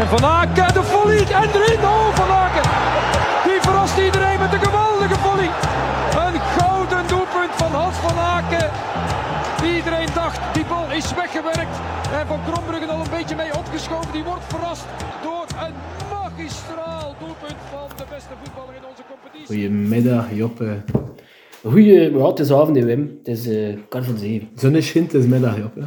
En Van Aken, de volley. En erin. Oh, Van Aken. Die verrast iedereen met een geweldige volley. Een gouden doelpunt van Hans Van Aken. Iedereen dacht, die bal is weggewerkt. En Van Krombruggen al een beetje mee opgeschoven. Die wordt verrast door een magistraal doelpunt van de beste voetballer in onze competitie. Goedemiddag, Joppe. Goeie, ja, het is avond, hè, Wim. Het is eh kwart voor zeven. Zonne schint, het is middag, Joppe.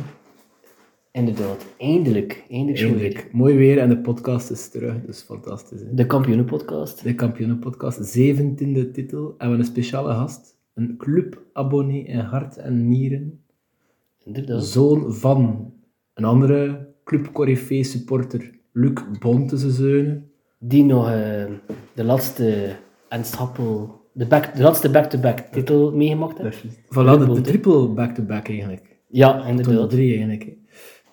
Inderdaad, eindelijk. Eindelijk zo weer. Eindelijk. Mooi weer en de podcast is terug, dus fantastisch. Hè? De kampioenenpodcast. De kampioenenpodcast, 17e titel. En we hebben een speciale gast. Een clubabonnee in hart en nieren. Inderdaad. Zoon van een andere clubcorifee supporter, Luc Bonte, zijn zeunen. Die nog eh, de laatste Ernst Happel, de, back, de laatste back-to-back titel meegemaakt heeft. Voilà, de- de Bonte. triple back-to-back eigenlijk. Ja, Tot inderdaad. drie eigenlijk. hè.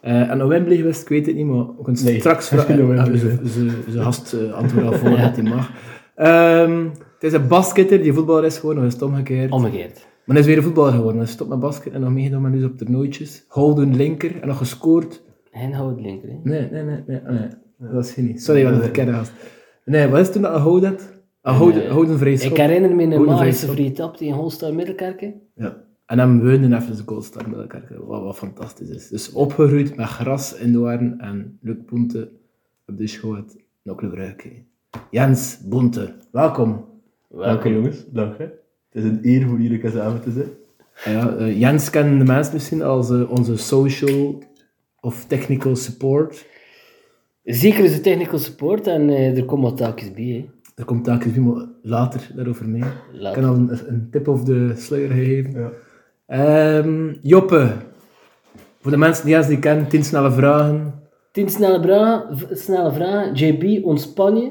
Eh en Owen bleef wist, ik weet het niet, maar we kunnen Nee, straks ik vragen. wil Owen Ah, niet ze, ze, ze gast eh, antwoord al voor dat hij mag. Ehm, het is een basketter die voetballer is geworden, of is het omgekeerd? Omgegeerd. Maar hij is weer een voetballer geworden. Hij stopt met basket en nog meegedaan met dus op toernooitjes. Golden linker en nog gescoord. En houdt linker. hè. Nee, nee, nee, nee, nee. dat is hij niet. Sorry, wat een verkeerde gast. Nee, wat is toen dat een houd had? Een houden, eh, houden vrij schop. Ik herinner me een Goeie magische vrijschop. vrije tap tegen Holstein Middelkerken. Ja. En hem woonde even de Goldstar met elkaar, wat, wat fantastisch is. Dus opgeroeid met gras in de waren en Luc Bonte op de schoot nog te gebruiken. Jens Bonte, welkom. Dank je jongens, dank hè. Het is een eer om hier samen te zijn. Ja, eh, Jens kennen de mensen misschien als eh, onze social of technical support. Zeker is de technical support en eh, er komen wat taakjes bij. hè. Er komt telkens iemand later daarover mee. Ik Laat- kan al een, een tip of de sluier geven. Ja. Ehm, Joppe, voor de mensen die Jens niet kennen, tien snelle vragen. Tien snelle, bra- v- snelle vragen. JB ontspan je.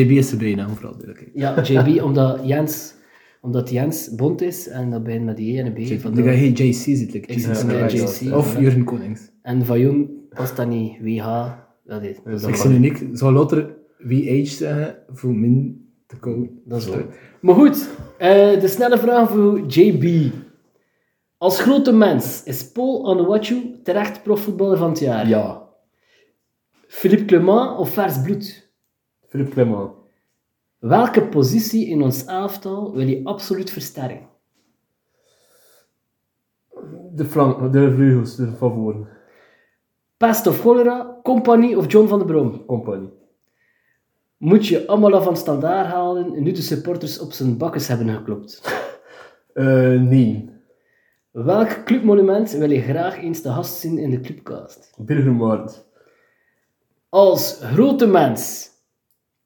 JB is de bijnaam vooral duidelijk. Ja, JB, omdat Jens, omdat Jens bond is en dat begint met die E en een B. Ik denk dat Vandaar. je JC zit, like, Ik zit Jesus met Christ. JC, Of ja. Jurgen Konings. En Vajoen past dat niet. WH, dat is. Dus Ik dat zie nu niet, zou louter VH zeggen voor min te koud. Dat is waar. Maar goed, eh, de snelle vraag voor JB. Als grote mens is Paul Anuachu terecht profvoetballer van het jaar. Ja. Philippe Clement of Vers Bloed? Philippe Clement. Welke positie in ons elftal wil je absoluut versterken? De flank, de vleugels, de favoren. Pest of cholera, Compagnie of John van der Brom? Compagnie. Moet je Amala van standaard halen en nu de supporters op zijn bakkes hebben geklopt? Eh nee. Welk clubmonument wil je graag eens te gast zien in de clubcast? Birger Maartens. Als grote mens,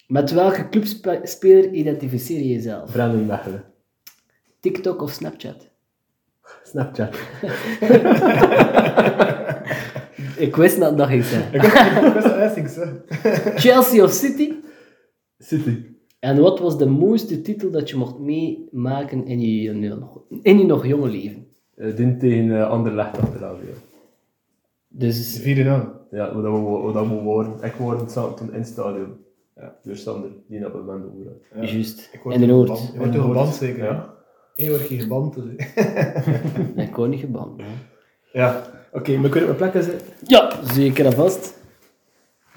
met welke clubspeler identificeer je jezelf? Brandon Mechelen. TikTok of Snapchat? Snapchat. Ik wist dat dat ging zijn. Dat is echt ik zo. Chelsea of City? City. En wat was de mooiste titel dat je mocht meemaken in je, in je nog jonge leven? Eh Din tegen eh Anderlecht achteraf. Ja, Dus Vierde dan. ja wat, dat moet, wat dat moet worden. Ik word het zaterdag in het stadion. Ja. Door Sander, die op het moment over had. juist, in de Noord. wordt toch geband zeker? Ja. Je wordt geen dus- geband. Ik kon niet geband. Ja. Oké, we kunnen op plekken zitten. Ja, zeker en vast.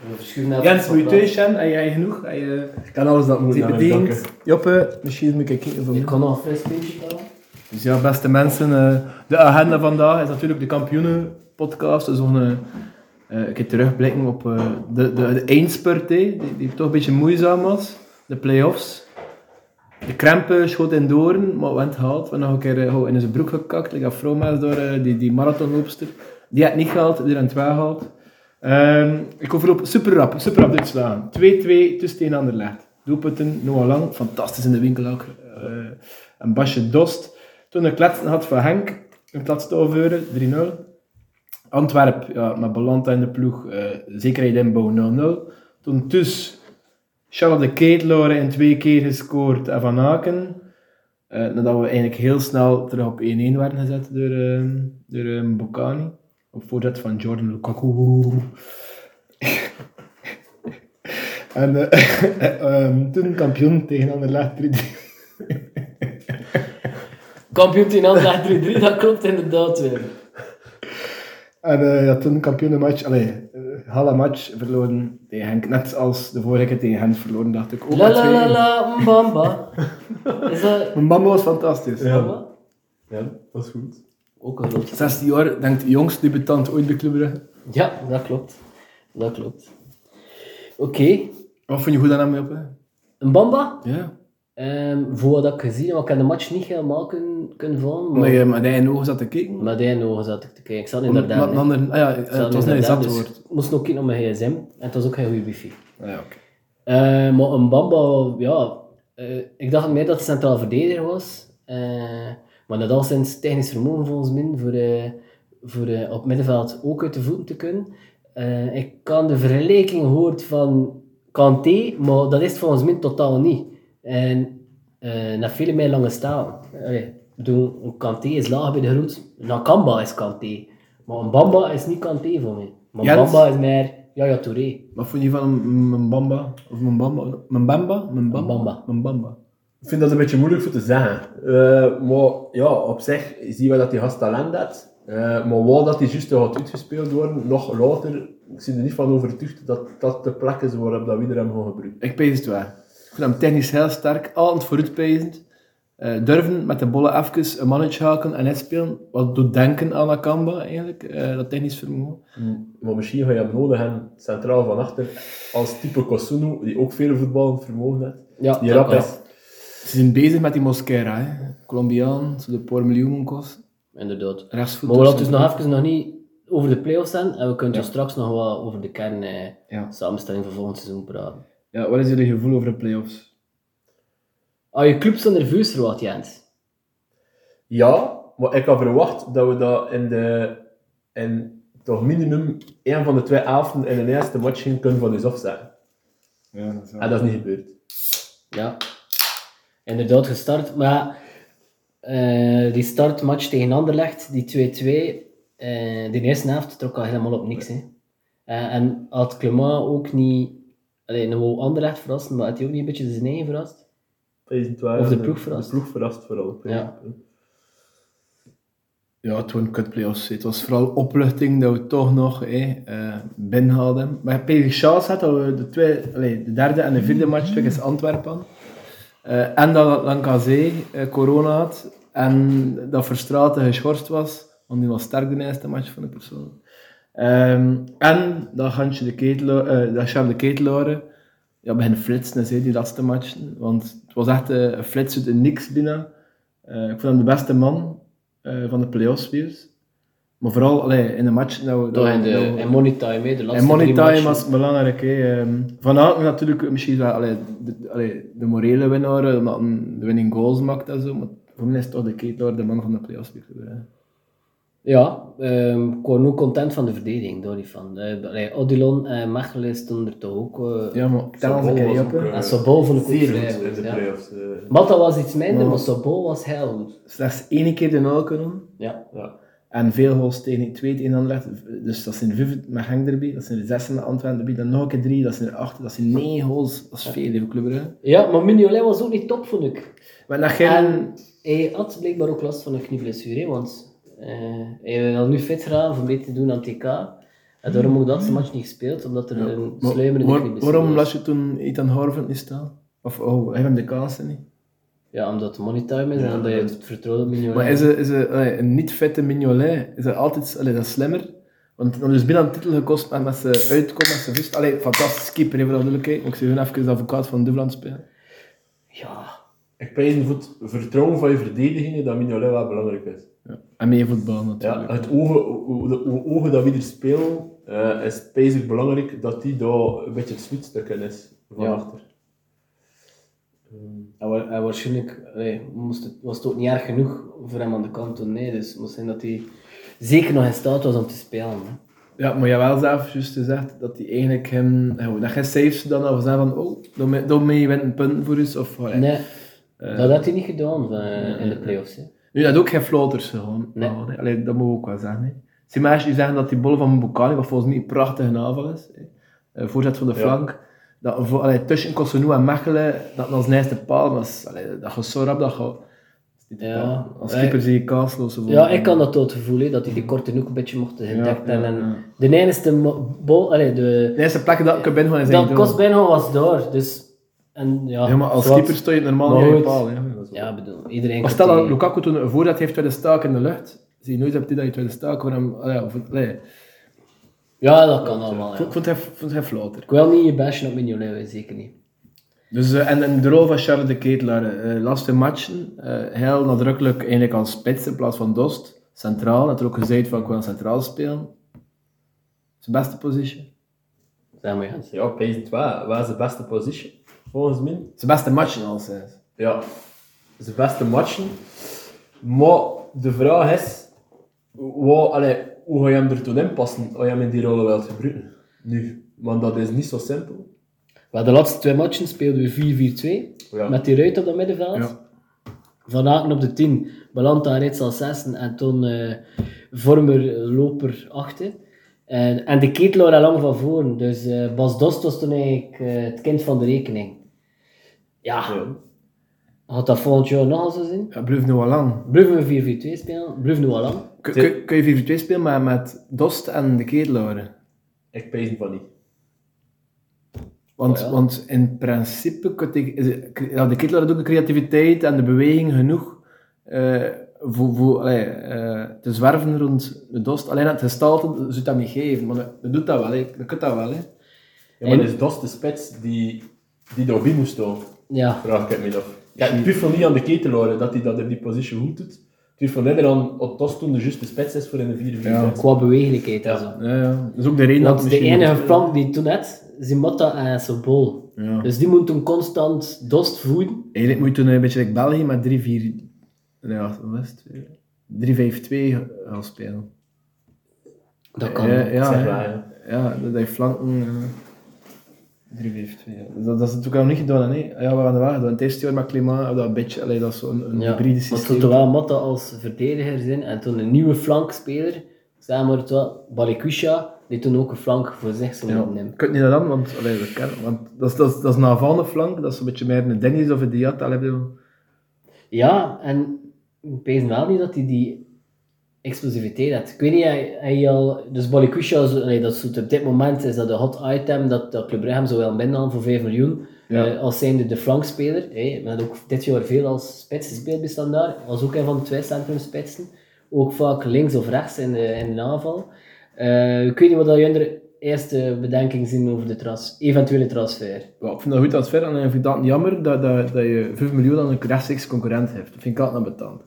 We verschuiven even Jens, van moet je thuis plaats. zijn? Heb jij genoeg? Heb je Ik kan alles dat moet die naar mijn bediend? zakken. Joppe, misschien moet ik kijken voor Ik kan nog een fris pintje halen. Dus ja, beste mensen, eh, de agenda vandaag is natuurlijk de kampioenenpodcast. Dus we gaan eh, eh, een keer terugblikken op eh, de, de, de eindspurt, hè, die, die toch een beetje moeizaam was. De play-offs. De krampen schoot in doorn, maar we hebben het gehaald. We hebben nog een keer eh, gewoon in zijn broek gekakt. Ik had Froma's door eh, die, die marathonloopster. Die had het niet gehaald, die had het wel gehaald. Ehm, ik overloop super rap, super rap dit slaan. 2-2 tussen tegen Anderlecht. Doelpunten, Noah Lang, fantastisch in de winkel ook. Eh, en Basje Dost. Toen ik kletsen had van Henk, in plaats van overheuren, 3-0. Antwerp, ja, met Balanta in de ploeg, eh, zekerheid inbouw 0-0. Toen dus Charlotte de Keetlore in twee keer gescoord en Van Aken. Eh, nadat we eigenlijk heel snel terug op 1-1 werden gezet door, eh, door eh, Bocani. Op voorzet van Jordan Lukaku. en eh, ehm, toen kampioen tegen Anderlecht 3-3. Computer in Anderlecht 3-3, dat klopt inderdaad weer. En eh ja, toen kampioen de match. Allee, eh, gala-match verloren tegen Henk. Net als de vorige keer tegen Henk verloren, dacht ik. Ook La met la la 2-1. la, mbamba. Is dat... Mijn mama was fantastisch. Ja. ja, dat is goed. Ook een groot. 16 jaar, denkt de jongste debutant ooit bij Club Brugge. Ja, dat klopt. Dat klopt. Oké, Wat vond je goed aan hem, Joppe? mbamba. Ja. Ehm voor wat ik gezien heb, want ik heb de match niet helemaal kunnen, kunnen volgen. Maar Omdat je met eigen ogen zat te kijken? met die ogen zat ik te kijken. Ik zat Omdat- inderdaad... omdat anderen- ah ja, eh, Ik zat het was net inderdaad, zat dus woord. ik moest nog kijken op mijn gsm. En het was ook geen goede wifi. Ah Ja, oké. Eh, maar een Bamba, ja, eh, ik dacht meer dat hij centraal verdediger was. Eh, maar dat al zijn technisch vermogen volgens mij voor, eh, voor eh, op middenveld ook uit de voeten te kunnen. Eh, ik kan de vergelijking hoort van Kanté, maar dat is het volgens mij totaal niet. En eh na vele mij lange staan. Eh, ik bedoel, een Kanté is laag bij de groet. Nakamba is Kanté. Maar een Bamba is niet Kanté voor mij. Maar Jens? Bamba is meer Yaya Touré. Wat vond je van mijn bamba? Of mijn bamba? Mijn bamba? Mijn Mbamba. bamba? Mijn bamba. Ik vind dat een beetje moeilijk voor te zeggen. Eh, maar ja, op zich zien we dat die gast talent had. Eh, maar waar dat die juist gaat uitgespeeld worden, nog later, ik ben er niet van overtuigd dat dat de plek is waarop dat we hem gaan gebruiken. Ik pees het waar. Ik vind hem technisch heel sterk, altijd vooruitpeizend. Eh durven met de bollen even een mannetje haken en uitspelen. Wat doet denken aan Akamba eigenlijk, eh, dat technisch vermogen. Maar misschien ga je hem nodig hebben, centraal van achter, als type Kosunu, die ook veel voetballend vermogen heeft. Ja, die dat rap kan. is. Ze zijn bezig met die Mosquera, hè. Colombiaan, zo de paar miljoen kost. Inderdaad. Rechtsvoet. Maar we laten dus dus nog even nog niet over de play-offs zijn en we kunnen Ja. dus straks nog wel over de kern eh, Ja. samenstelling van volgend seizoen praten. ja, wat is jullie gevoel over de play-offs? Ah, je clubs zijn nerveus verwacht, Jens. Ja, maar ik had verwacht dat we dat in de... In toch minimum één van de twee avonden in de eerste match gingen kunnen van ons afzetten. Ja, dat is wel... En dat is niet gebeurd. Ja. Inderdaad, gestart. Maar eh, die startmatch tegen Anderlecht, die 2-2, eh die eerste helft trok al helemaal op niks. Hè. Eh, en had Clement ook niet... Allee, nou wou Anderlecht verrassen, maar had hij ook niet een beetje zijn eigen verrast? Dat is het waar. Of de ploeg verrast. De ploeg verrast vooral. Ja. Ja, het waren kut playoffs. Het was vooral opluchting dat we toch nog eh, eh, binnen hadden. Maar PSV Charles had dat we eh, de, twee, allee, de derde en de Mhm. vierde match tegen Antwerpen. Eh, en dat Lancazé eh corona had. En dat Verstraten geschorst was. Want die was sterk de eerste match van de persoon. Ehm, en dat Gansje de Ketelaar, eh, dat Charles de Ketelaar ja, begint flitsen is, hè, die laatste match. Want het was echt eh, een flits uit het niks binnen. Eh, ik vond hem de beste man eh, van de playoff spelers. Maar vooral allee, in de match. Nou, Door in, nou- de, in money time, hè, de laatste en money drie time matchen. was belangrijk. hè. Ehm, Van Aken natuurlijk misschien wel allee, de, allee, de morele winnaar, eh, omdat hij de winning goals maakt en zo. Maar voor mij is toch de Ketelaar de man van de playoffs. hè. Ja, ehm, ik was ook content van de verdediging, daar niet van. Eh, allee, Odilon en Mechelen stonden er toch ook. eh, Ja, maar tel ons een keer op. hè. En Sobol vond ik ook vrij eh, in goed, de ja. playoffs. eh, Matta was iets minder, Maar- maar Sobol was heel goed. Slechts één keer de nul kunnen doen. Ja. ja. En veel goals tegen twee tegen Anderlecht. Dus dat zijn vijf met Genk erbij, dat zijn er zes met Antwerpen erbij, dan nog een keer drie, dat zijn er acht, dat zijn negen goals. Dat is veel, hè, voor Club Brugge. ja, maar Mignolet was ook niet top, vond ik. Maar dat geen... En hij had blijkbaar ook last van een knieblessure, hè, want eh, hij wil nu fit gaan om mee te doen aan TK. En daarom ook dat match niet gespeeld, omdat er een Maar sluimerende waar- knieblessure waarom was. las je toen Ethan Horvath niet staan? Of oh, hij heeft hem de kansen niet? Ja, omdat het money time is en omdat je het vertrouwen op Mignolet Maar is een, is een, allee, een niet vette Mignolet, is er altijd allee, dat is slimmer? Want dan is binnen een titel gekost en dat ze uitkomen, dat ze vist. Allee, fantastisch keeper, even dat duidelijk. Maar ik zie hun even de advocaat van Duveland spelen. Ja, Ik prijs voor het vertrouwen van je verdedigingen dat Mignolet wel belangrijk is. En mee voetbal Ja, natuurlijk. het ogen, hoe- de hoe ogen dat we er spelen, eh, is pijzig belangrijk dat die daar een beetje het sweetstuk in is van Ja. achter. En, wa- en waarschijnlijk allee, moest het, was het ook niet erg genoeg voor hem aan de kant toen. Nee, dus het moest zijn dat hij zeker nog in staat was om te spelen. Hè. Ja, maar jij wel zelf juist gezegd dat hij eigenlijk hem... ja, Dat jij saves dan al zeggen van, oh, daarmee- daarmee wint een punt voor ons. Of, allee. Nee, Eh, dat had hij niet gedaan eh, in de play-offs. Hè. Nu, dat ook geen floaters gewoon. Nee. Oh, nee. Allee, dat moet ik ook wel zeggen. hè. Zie maar als je zeggen dat die bol van Bukali, wat volgens mij een prachtige aanval is, hè. Eh, voorzet van de Ja. flank, dat, voor, allee, tussen Kosonou en Mechelen, dat als eerste paal was. Allee, dat gaat zo rap, dat gaat... Ja. Als Ja, keeper zie ik kaasloze Ja, ik kan dat tot gevoel, hè, dat hij die korte noek een beetje mocht gedekt hebben. en ja. De enige mo- bal, allee, de, De eerste plek dat ik er ben gewoon is dat eigenlijk kost bijna was door. Dus, en, ja, Ja, maar als zwart. keeper sta je normaal Nooit. niet op de paal. Ja. Ja, bedoel, iedereen Maar kan stel die- dat Lukaku toen voordat heeft tweede staak in de lucht. Zie je nooit op die dat je tweede staak voor hem... ah ja, of- nee. Ja, dat kan allemaal. Ik Ja. vond- vond hij, vond hij flauter. Ik wil niet je bashen op Mignolet, zeker niet. Dus, eh, en, en de rol van Charles de Ketelaar. eh laatste matchen, eh, heel nadrukkelijk eigenlijk als spits in plaats van Dost. Centraal, dat er ook gezegd van ik wil centraal spelen. Zijn beste positie. Zeg maar, ja. Ja, peasant waar. Waar is de beste position? Volgens mij. Zijn beste matchen al sinds. Ja, zijn beste matchen. Maar de vraag is, wat, allee, hoe ga je hem er toen inpassen als je hem in die rol wilt gebruiken? Nu, want dat is niet zo simpel. Maar de laatste twee matchen speelden we 4-4-2. Ja. Met die ruit op dat middenveld. Ja. Van Aken op de 10. Balanta reeds als 6 en toen eh Vormer eh, loper 8. En, en de ketelaar al lang van voren. Dus eh, Bas Dost was toen eigenlijk eh, het kind van de rekening. Ja, Ja. had dat volgend jaar nogal zo zijn? Ja, blijft nu al lang. Bluffen we 4-4-2 spelen? Bluffen we al lang? Kun- kun- Kun je 4-2 spelen maar met Dost en de Ketelaar? Ik peasant van niet. Want, Oh ja. want in principe kan ik- is het- ja, de Kittler had ook de creativiteit en de beweging genoeg eh, voor, voor allee, eh, te zwerven rond de dost. Alleen het gestalte zou dat niet geven, maar dat, dat doet dat wel, hè. dat kan dat wel. Hè. Ja, maar En- het is Dos de spits die, die door wie moest staan, Ja. vraag ik me af. Ja, ik twijfel niet aan de ketelaren dat hij dat in die positie goed doet. Ik twijfel eerder aan dat Dos toen de juiste spits is voor in de 4 4 Ja. Qua bewegelijkheid en Ja. zo. Ja, ja. Dat is ook de reden Want dat de misschien- enige flank die toen had, zijn Motta en zijn Bol. Ja. Dus die moet toen constant dost voeden. Eigenlijk moet je toen een beetje like België met 3-4... Ja, wat was het? 3-5-2 gaan spelen. Dat kan. ja, ja, zeg hè. maar, ja. Ja, dat hij flanken. eh, 3-5-2. ja. Dat, dat is natuurlijk al niet gedaan, hè? Ja, we hebben dat wel gedaan. Het eerste jaar met Clément hebben we dat een beetje, allee, dat is zo'n een Ja, hybride maar toen systeem. terwijl Motta als verdediger zijn en toen een nieuwe flankspeler, samen maar terwijl Balikwisha, die toen ook een flank voor zich zou Ja. moeten nemen. Ik kan het niet aan, want, allee, dat, kan, want dat, is, dat, is, dat is een aanvallende flank, dat is een beetje meer een Dennis of een Diat. allee, bedoel. Ja, en ik weet wel niet dat hij die explosiviteit had. Ik weet niet, hij, hij al, dus Balikwisha, zo- allee, dat is zo- op dit moment is dat een hot item dat, dat Club Brugge hem zou willen binnenhalen voor 5 miljoen. Ja. Eh, als zijnde de flankspeler, hey, maar ook dit jaar veel als spits gespeeld bij Standaard, was ook een van de twee centrumspitsen. Ook vaak links of rechts in de, in de aanval. Eh, ik weet niet wat dat jullie eerste bedenking zien over de trans, eventuele transfer. Ja, ik vind dat goed transfer en ik vind dat jammer dat, dat, dat je 5 miljoen aan een rechtstreeks concurrent hebt. Dat vind ik altijd betaald.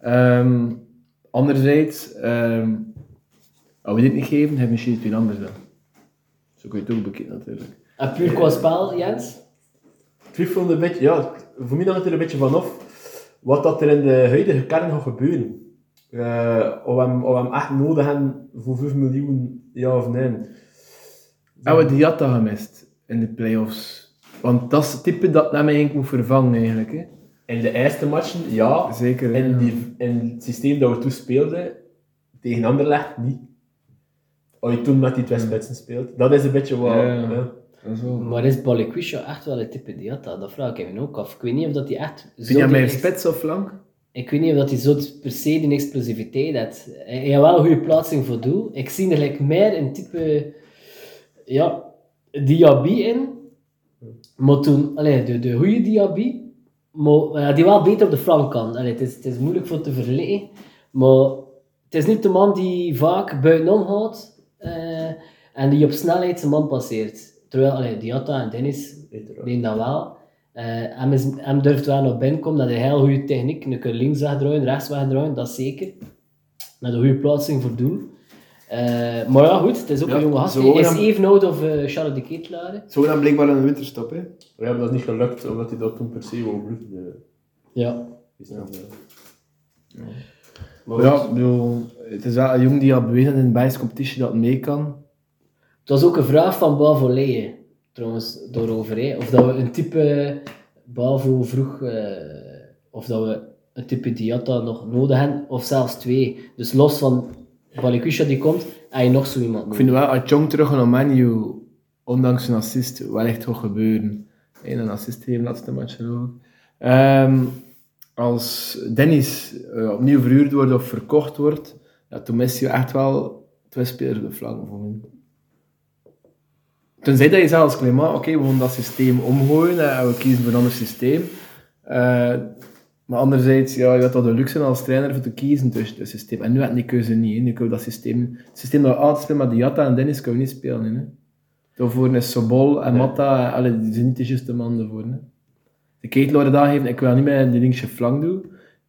Ehm anderzijds, ehm als we dit niet geven, heb je misschien iets anders dan. Zo kun je het ook bekijken natuurlijk. En Eh, puur qua spel, Jens? twijfelde een beetje, ja, voor mij hangt het er een beetje vanaf wat dat er in de huidige kern gaat gebeuren. Eh of, we hem, of we hem echt nodig hebben voor 5 miljoen, ja of nee. Hebben we Diatta gemist in de play-offs? Want dat is het type dat naar mij eigenlijk moet vervangen, eigenlijk. Hè? In de eerste matchen, ja. Zeker. In, ja. die, in het systeem dat we toen speelden, tegen Anderlecht niet. Als je toen met die twee spitsen speelt. Dat is een beetje wat... Ja, ja. hè. Dat is wel... Maar is Balikwisha echt wel het type die had dat? Dat vraag ik me ook af. Ik weet niet of dat hij echt... Vind jij die mij ex- spits of flank? Ik weet niet of dat hij zo per se die explosiviteit had. Hij hij had wel een goede plaatsing voor doel. Ik zie er like meer een type... Ja, Diaby in. Maar toen... Allee, de, de goede Diaby. Maar ja, die wel beter op de flank kan. Allee, het, is, het is moeilijk voor te vergelijken. Maar het is niet de man die vaak buitenom houdt. eh, en die op snelheid zijn man passeert. Terwijl allee, Diatta en Dennis Beter wel. Nee, dat wel. Eh, hem, is, hem durft wel naar binnen komen. Dat hij heel goede techniek. Een keer links wegdraaien, rechts wegdraaien, dat zeker. Met een goede plaatsing voor doel. Eh, maar ja, goed, het is ook Ja, een jonge gast. zo Hij is hem- even oud als eh, Charles de Ketelaar. Zo dan blijkbaar een winterstop, hè? We hebben dat niet gelukt, omdat hij dat toen per se wou blijven. eh, Ja. Is dat, eh. Maar ja, goed. ik bedoel, het is wel een jong die al bewezen in de Belgische competitie dat het mee kan. Het was ook een vraag van Bavo Leyen, trouwens, daarover. hè. Of dat we een type Bavo vroeg, eh, of dat we een type Diatta nog nodig hebben, of zelfs twee. Dus los van Balikwisha die komt, en je nog zo iemand Ik nodig. vind wel, Achong terug naar Manu, ondanks zijn assist, wel echt gaat gebeuren. Eén een assist gegeven laatste match, geloof ik. Ehm, als Dennis eh, opnieuw verhuurd wordt of verkocht wordt, ja, toen mist je echt wel twee spelers op de flank voor mij. Tenzij dat je zegt als klimaat, oké, we gaan dat systeem omgooien eh, en we kiezen voor een ander systeem. Eh, maar anderzijds, ja, je had wel de luxe als trainer voor te kiezen tussen het systeem. En nu had ik die keuze niet. hè. Nu kunnen we dat systeem... Het systeem dat we altijd spelen met Diatta en Dennis kunnen we niet spelen. hè, Hè. Daarvoor is Sobol en Matta, eh, allee, die zijn niet de juiste man daarvoor. Hè. De Kate Laura daar heeft, ik wil niet meer die linkse flank doen.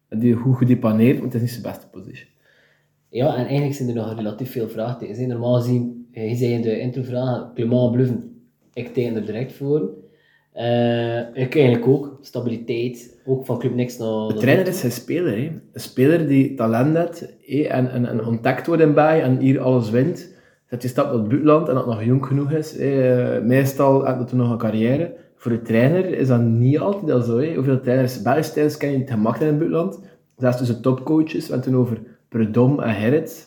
En die goed gedepaneerd, want het is niet zijn beste positie. Ja, en eigenlijk zijn er nog relatief veel vraagtekens. hè. Normaal gezien, eh, je zei in de intro-vraag, klimaat bluffen. Ik teken er direct voor. Eh, ik eigenlijk ook. Stabiliteit. Ook van Club Niks naar... De trainer is zijn speler. Hè. Een speler die talent heeft hè, en, en, en ontdekt wordt in bij en hier alles wint. Zet die stap naar het buitenland en dat nog jong genoeg is. hè. Eh, Meestal heeft dat toen nog een carrière. Voor de trainer is dat niet altijd al zo. Hè. Hoeveel trainers, Belgische trainers, kennen het gemak in het buitenland. Zelfs tussen topcoaches. We hebben toen over Predom en Gerrits.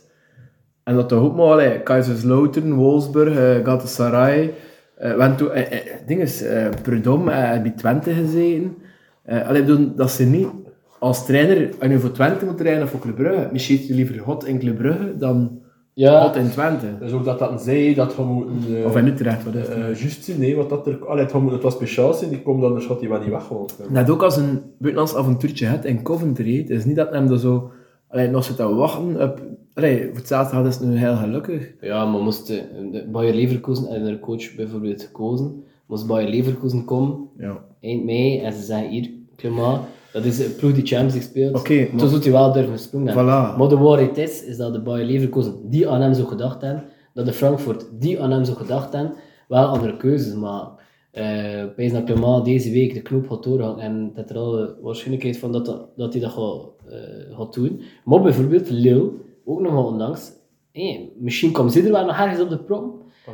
En dat toch ook maar, allee, Kaiserslautern, Wolfsburg, eh Galatasaray. eh we hebben toen, eh, eh, ding is, eh, Prudhomme eh, bij Twente gezeten. Eh allee, ik bedoel, dat ze niet als trainer, en nu voor Twente moet trainen of voor Club Brugge, misschien zit je liever hot in Club Brugge dan Ja, hot in Twente. Dus ook dat dat een zij, dat we moeten... eh, Of in Utrecht, wat is het? eh, juist zien, nee, want dat er... Allee, het gaat moeten- het was speciaal zijn, die komt anders gaat die wel niet weg. eh, gewoon. Net ook als een buitenlands avontuurtje hebt in Coventry, het is niet dat hem er zo allee, nog zit te wachten op... Allee, voor hetzelfde geld is het nu heel gelukkig. Ja, maar moest de, de Bayer Leverkusen en haar coach bijvoorbeeld gekozen, moest Bayer Leverkusen komen Ja. eind mei en ze zeggen hier, Clément, dat is een ploeg die Champions League speelt. Oké, maar- Toen zou hij wel durven springen. Voilà. Maar de waarheid is, is dat de Bayer Leverkusen die aan hem zo gedacht hebben, dat de Frankfurt die aan hem zo gedacht hebben, wel andere keuzes, maar eh bijna dat Clément deze week de knoop gaat doorgaan en dat er al een waarschijnlijkheid van dat, dat, dat hij dat gaat, eh, gaat doen. Maar bijvoorbeeld Lille, ook nog wel ondanks, hé, misschien komt ze er wel nog ergens op de prom.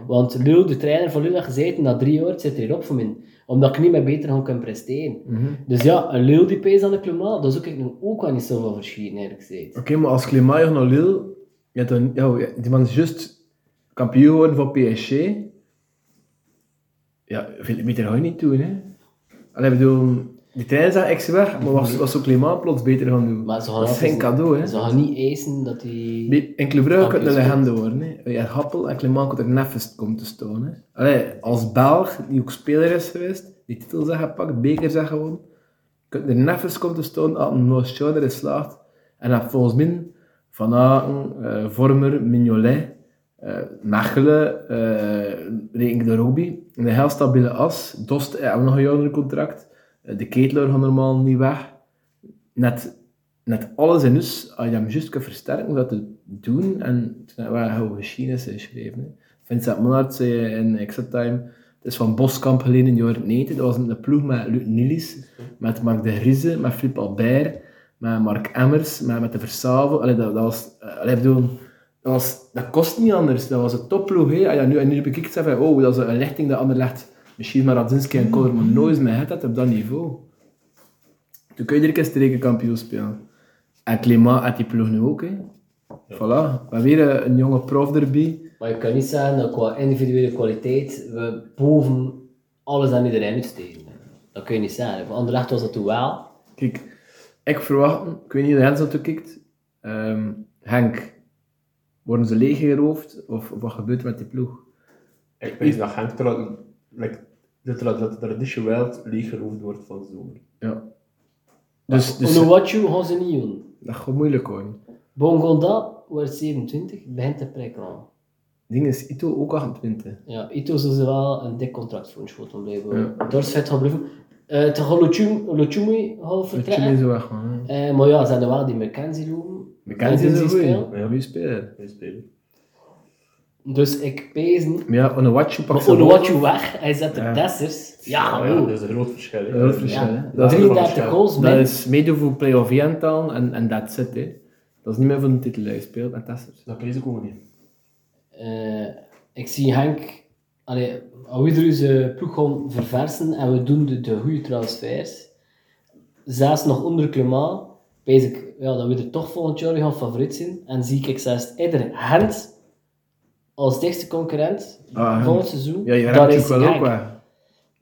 Want Lille, de trainer van Lille, had gezegd, na drie jaar zit hij erop voor mij. Omdat ik niet meer beter gewoon kan presteren. Mhm. Dus ja, een Lille die pees aan de Clément, dat is ook, ik nog ook wel niet zoveel verschieten, eerlijk gezegd. Oké, maar als Clémaio naar Lille, je hebt dan, ja, ja, die man is juist kampioen geworden van PSG. Ja, veel beter ga je niet doen, hè. Allee, ik bedoel, die trein zag ik ze weg, maar was, was ook Clément plots beter gaan doen. Maar ze gaan dat is wel- geen cadeau, hè. Ze gaan niet eisen dat hij... Nee, In Club Brugge kan het een Kampioen legende worden, hè. Je hebt Happel en Clément kan er neffens komen te staan, hè. Allee, als Belg, die ook speler is geweest, die titel zijn gepakt, beker zijn gewonnen, kunt er neffens komen te staan als een Noordschouder erin slaagt. En dat volgens mij Van Aken, eh, Vormer, Mignolet, eh Mechelen, eh Reken de Robby. Een heel stabiele as. Dost eh, hebben we nog een jongere contract. Eh, de Ketelaar gaat normaal niet weg. Net, net alles en dus, als je hem juist kunt versterken, hoe dat te doen. En toen hebben we heel geschiedenis geschreven. hè. Vincent Monard zei in Exit Time, het is van Boskamp geleden in de jaren 90. Dat was een ploeg met Luc Nilis, met Marc de Grieze, met Flip Albert, met Mark Emmers, met, met de Versavel. Allee, dat, dat was... eh, allee, ik bedoel, dat, was, dat kost niet anders. Dat was een topploeg. hè. En ja, nu, en nu bekijkt ze van, oh, dat is een lichting dat ander legt. Misschien maar Radzinski en Koller, maar nooit met het dat op dat niveau. Toen kun je er een strekenkampioen spelen. En Clément had die ploeg nu ook. Hè. Voilà, we hebben weer eh, een jonge prof erbij. Maar je kan niet zeggen dat qua individuele kwaliteit we boven alles aan iedereen uitsteken. Dat kun je niet zeggen. Voor Anderlecht was dat toen wel. Kijk, ik verwacht, ik weet niet hoe Hens dat toe kijkt. Ehm, Henk, worden ze leeggeroofd of, of wat gebeurt er met die ploeg? Ik weet dat Henk tra- like, de tra- dat de traditie wel leeggeroofd wordt van de zomer. Ja. Dus, dus Onder wat je gaan ze niet doen. dat gaat moeilijk worden. Bongonda wordt 27, begint te prikkelen. ding is, Ito ook 28. Ja, Ito zal ze wel een dik contract voor een schotel blijven. Ja. Dorsvet gaat blijven. Eh te gaan Lochum- Lochumi gaan Dat je niet vertrekken. zo weg gaan. Eh, maar ja, ze hadden wel die McKenzie lopen. Bekend is een spelen. goeie. Ja, wie speler. Hij speelt. Dus ik pezen. Maar ja, Onuwachu pakt Maar zijn onder rol. wat je weg, hij zet de Ja. Dessers. Ah, Ja, ja, ja, dat is een groot verschil. hè. Een groot verschil, Ja. hè. Dat is- 33 goals, Dat min. is mede voor play-off 1 taal en en that's it. Hè. Dat is niet meer voor een titel dat je speelt, en dat is het. Dat prijzen komen niet. Eh, ik zie Henk, allee, als we er zijn ploeg gaan verversen en we doen de, de goede transfers, zelfs nog onder Clément, weet ik ja, dat we er toch volgend jaar gaan favoriet zijn. En zie ik zelfs eerder Hent als dichtste concurrent Ah, Henk. volgend seizoen. Ja, je Daar hebt is wel ook Henk. wel.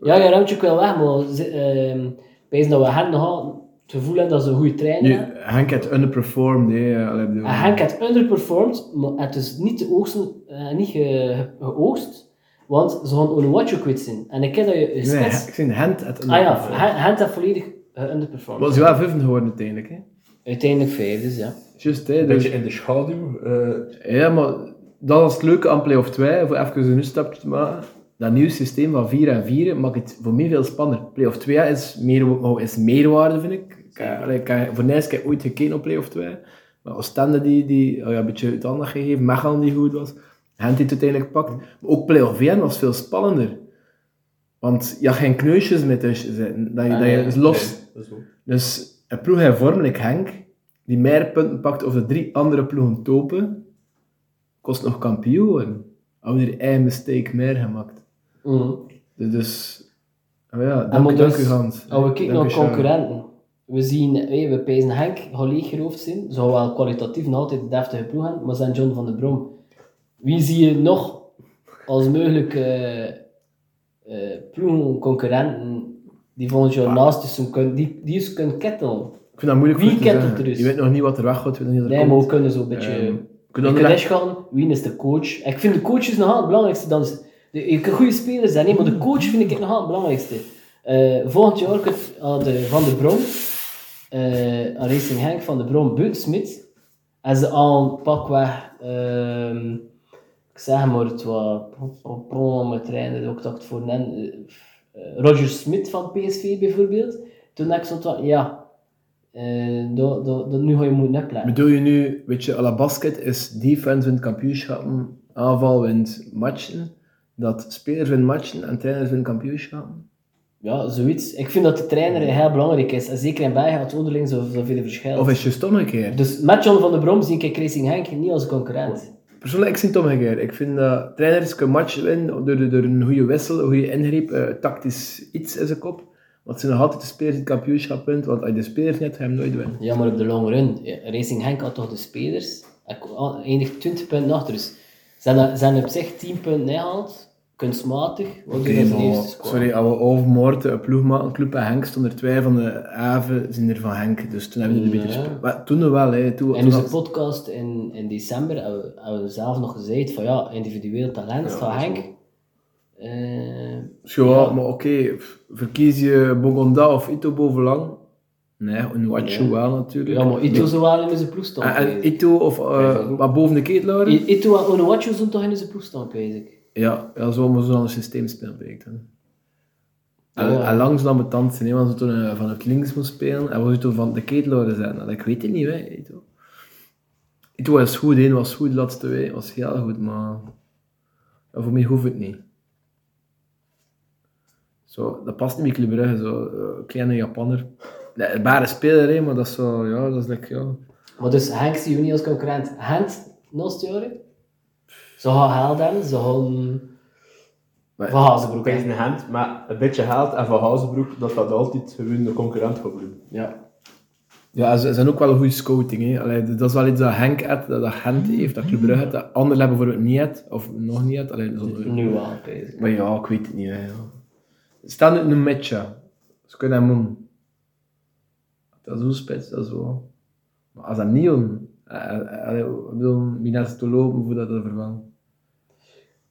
Ja, je ruimt je ook wel weg, maar ze- ehm, ik weet dat we Henk nog het gevoel hebben dat ze een goede trainer Nu, hebben. Henk had underperformed, hè. eh, allee, ik bedoel- En Ah, Henk had underperformed, maar het is niet, te oogsten, eh, niet ge, ge- geoogst, want ze gaan Onuwachu kwitsen. En ik ken dat je je Nee, spits... ik zie Hent had ah ja, underperformed. Hen- Hent heeft volledig geunderperformed. Was hij wel vijfde geworden uiteindelijk, hè. Uiteindelijk vijf, dus ja. Just, hè. Een Dus, beetje in de schaduw. eh, ja, maar dat was het leuke aan play-off 2, voor even een stapje te maken. Dat nieuwe systeem van 4 en 4 maakt het voor mij veel spannender. Play-off 2 is, meer, oh, is meerwaarde, vind ik. Ik heb- allee, ik heb- voor Nijs heb ik ooit gekeken op play-off 2. Maar Oostende die, die oh ja, een beetje uit handen gegeven, Mechelen die goed was, Gent die het uiteindelijk pakt. Maar ook play-off 1 was veel spannender. Want je had geen kneusjes meer tussen zitten. Dat je, dat je Ah, nee. los... nee, dat is goed. Dus een ploeg in vorm, like Henk, die meer punten pakt of de drie andere ploegen topen, kost nog kampioen. Hou er één mistake meer gemaakt. Mhm. Dus, dus oh ja, En dank, maar dank dus, u Hans. Als we kijken Dank naar u, Sharon. concurrenten, we zien, hey, we pijzen Henk, Holleeg geroofd zijn, zou wel kwalitatief nog altijd een deftige ploeg hebben, maar zijn John van de Brom. Wie zie je nog als mogelijke eh, eh, ploegen, concurrenten, die volgens jou naast je zijn kunnen, die, die je kunnen kettelen? Ik vind dat moeilijk Wie goed te kent zeggen. het er dus? Je weet nog niet wat er weg gaat, je weet nog niet wat er Nee, maar we komt. kunnen zo'n beetje... Ehm, kun je je dan kunt direct- inschouwen, wie is de coach? Ik vind de coach is nogal het belangrijkste. Dan is- de, je kan goede spelers zijn, nee, maar de coach vind ik nogal het belangrijkste. Eh, volgend jaar kunt aan de Van de Brom, eh, aan Racing Henk van de Brom, Bunt Smit. En ze al pakweg, ehm ik zeg maar het was, mijn trainer, ook dat ik het voor hen, eh, eh, Roger Smit van PSV bijvoorbeeld. Toen dacht ik zo, van, ja, eh, dat, dat, dat, nu ga je moeten opletten. Bedoel je nu, weet je, à la basket is defense wint kampioenschappen, aanval wint matchen, dat spelers winnen matchen en trainers winnen kampioenschappen? Ja, zoiets. Ik vind dat de trainer heel belangrijk is. En zeker in België had onderling zo- zoveel verschil. Of is het juist omgekeerd? Dus met John van der Brom zie ik Racing Henk niet als concurrent. Persoonlijk, ik zie het omgekeerd. Ik vind dat trainers kunnen matchen winnen door, door, door een goede wissel, een goede ingreep, eh, tactisch iets in zijn kop. Want ze zijn nog altijd de spelers die het kampioenschap wint, want als je de spelers niet hebt, ga je hem nooit winnen. Ja, maar op de long run. ja, Racing Henk had toch de spelers. Hij ko- al- eindigt 20 punten achter. Dus zijn, er- zijn er op zich 10 punten ingehaald. Kunstmatig. Wat doen dat de eerste score? sorry, als we overmoord een ploeg maken, club en Henk, stonden er twee van de haven, zijn er van Henk. Dus toen hebben we het een Ja. beetje gespe- Maar Toen wel, hè. Toen, In toen onze had- podcast in, in december hebben we, hebben we zelf nog gezegd van ja, individueel talent Ja, van dat is Henk. wel. Eh, Ja, maar oké, pff, verkies je Bogonda of Ito bovenlang? Nee, Unwachu Ja. wel natuurlijk. ja, maar Ito zou wel in zijn ploeg Ah, staan. En, en geweest. Ito, of eh, wat boven de ketelaar? I- Ito en Onuachu zijn toch in zijn ploeg staan, weet ik. Ja, ja zo moet zo'n systeem spelen, denk ik dan. En, Ja. en langs dan met tante nee, want ze toen eh, van het links moest spelen en was het toen van de ketelaar zijn. Nou, ik weet het niet, hè, Ito. Ito was goed, één was goed, de laatste twee was heel goed, maar ja, voor mij hoeft het niet. Zo, dat past niet bij Club Brugge, zo eh, kleine Japanner. Nee, een bare speler, hè, maar dat is zo, ja, dat is like, ja. Maar dus Henk zie je niet als concurrent. Henk, naast jaren? Ze gaan geld hebben, ze gaan... Maar- Van Hazenbroek, Ook eens hè. een hand, maar een beetje geld en van Hazenbroek, dat dat altijd gewoon de concurrent gaat blijven. Ja. Ja, ze ze zijn ook wel een goede scouting. Hè. Allee, d- dat is wel iets dat Henk had, dat, dat Gent heeft, dat Club Brugge had, dat anderen hebben bijvoorbeeld niet had, of nog niet had. Allee, zo- Nu wel, bezig. Maar ja, ik weet het niet. Hè, ja. Stel nu een matje. Ze kunnen hem doen. Dat is hoe spits, dat is wel. Maar als dat niet doen, eh, eh, allee, ik bedoel, wie naast het te lopen voordat dat vervangt.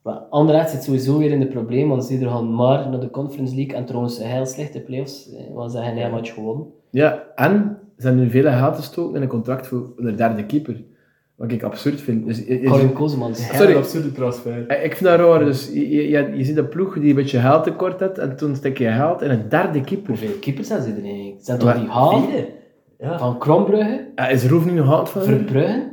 Maar Anderlecht zit sowieso weer in de probleem, want ze gaan maar naar de Conference League en trouwens een heel slechte playoffs, eh, want ze hebben een heel match gewonnen. Ja, en ze zijn nu vele gaten gestoken in een contract voor de derde keeper. Wat ik absurd vind. Dus, je- je- Colin Kozemans. Ja, Sorry. Een absurde transfer. Ja, Ik vind dat raar. Dus je, je, je- je ziet een ploeg die een beetje geld tekort had en toen stek je geld in een derde keeper. Hoeveel keepers zijn ze er eigenlijk? Zijn toch Maar- die Haan Ja. van Krombrugge, Ja, Eh, is Roef nu nog hand van? hem? Verbrugge?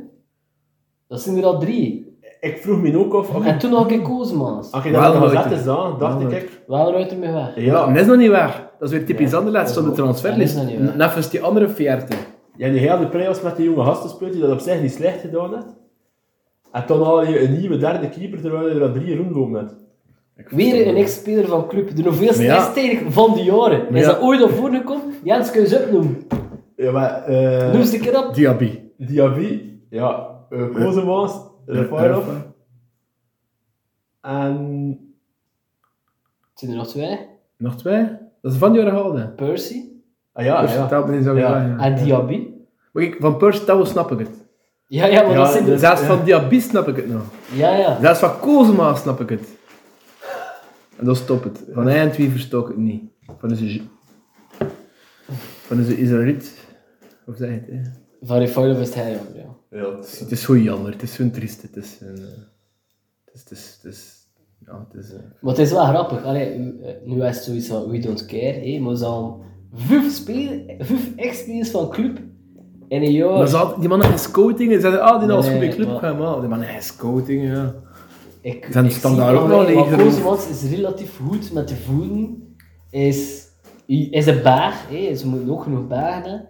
Dat zijn er al drie. Ik vroeg me ook af, als je- En toen nog een Kozemans. als je Wel dat had nooit, gezet hè. is aan, dacht Wel ik, ik, Wel ruikt er mee weg. Ja, ja, dat is nog niet waar. Dat is weer typisch Nee, Anderlecht, dat stond de is wel- transferlist. dat is nog niet waar. Neffens die andere 40. je hebt die hele play-offs met die jonge gasten gespeeld, die dat op zich niet slecht gedaan had. En toen had je een nieuwe derde keeper, terwijl je er al drie rondlopen hebt. Weer een ex-speler van club, de hoeveelste Maar ja. ex-tijdig van de jaren. Maar Is ja. dat ooit al voorgekomen? Jens, kun je ze opnoemen? Ja, maar... Noem eh ze een keer op. Diaby. Diaby, ja, eh, Kozemans, Rafaelov en... Het zijn er nog twee. Nog twee? Dat is van die Orgalde. Percy. Ah ja, Purs, ja. vertel me eens over Ja. ja. ja. En Diaby? Maar kijk, van Purs, dat wel snap ik het. Ja, ja, maar Ja, dat zijn de... dat- Zelfs ja. van Diaby snap ik het nog. Ja, ja. Zelfs van Kozema snap ik het. En dan stopt het. Van hij en twee verstook ik het niet. Van is een Ju- Van is een Israëliet. Of zeg je het, hè? Van Refoilov is hij jammer, ja. Ja, het is- Het is gewoon jammer. Het is zo'n triest. Het is een... eh, Het is... Het is... Het is ja, het is... eh, Maar het is wel grappig. Allee, u- eh, nu is het zoiets van we don't care, hè. maar zo'n vijf spelen, vijf ex-spelers van club in een jaar. Maar ze hadden- die mannen gaan scouting en zeiden, ah, die Nee, was goed bij nee, club maar- gaan, maar die mannen gaan scouting, ja. ik, zijn ik standaard zie ook wel alleen, Maar leger, dus- Kozemans is relatief goed met de voeten. Is, is een baag, hè. ze moeten ook genoeg bagen. hebben.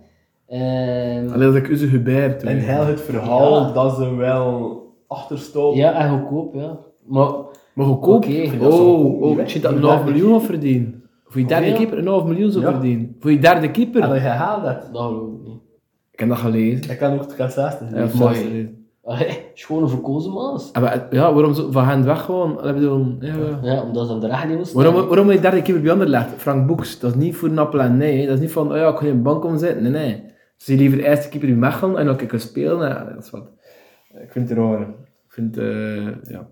Ehm, Alleen dat ik Uze Hubert toen. En heel het verhaal Ja. dat ze wel achterstonden. ja, en goedkoop, ja. Maar Maar goedkoop. Oké, oh, dat is wel goed. oh, Die ik zie dat weg- een die half weg- miljoen had verdiend. Voor je derde Hoeveel? keeper een half miljoen zou Ja. verdienen. Voor je derde En keeper. dan gehaald dat. dat geloof ik niet. Ik heb dat gelezen. Ik kan ook de kassasten. Ja, Ja, mooi. Allee, schone voor Kozemans. Ah, maar het- Ja, waarom zo van hen weg gewoon? Allee, bedoel, ja, ja. Ja, omdat ze aan de recht niet moesten. Waarom, waarom moet je derde keeper bij ander legt? Frank Boeks, dat is niet voor een appel en nee. hè. Dat is niet van, oh ja, ik ga je in de bank omzetten. Nee, nee. Ze zien liever eerste keeper die Mechelen en dan kan ik spelen. Ja, dat is wat. Ik vind het raar. Ik vind, eh ja.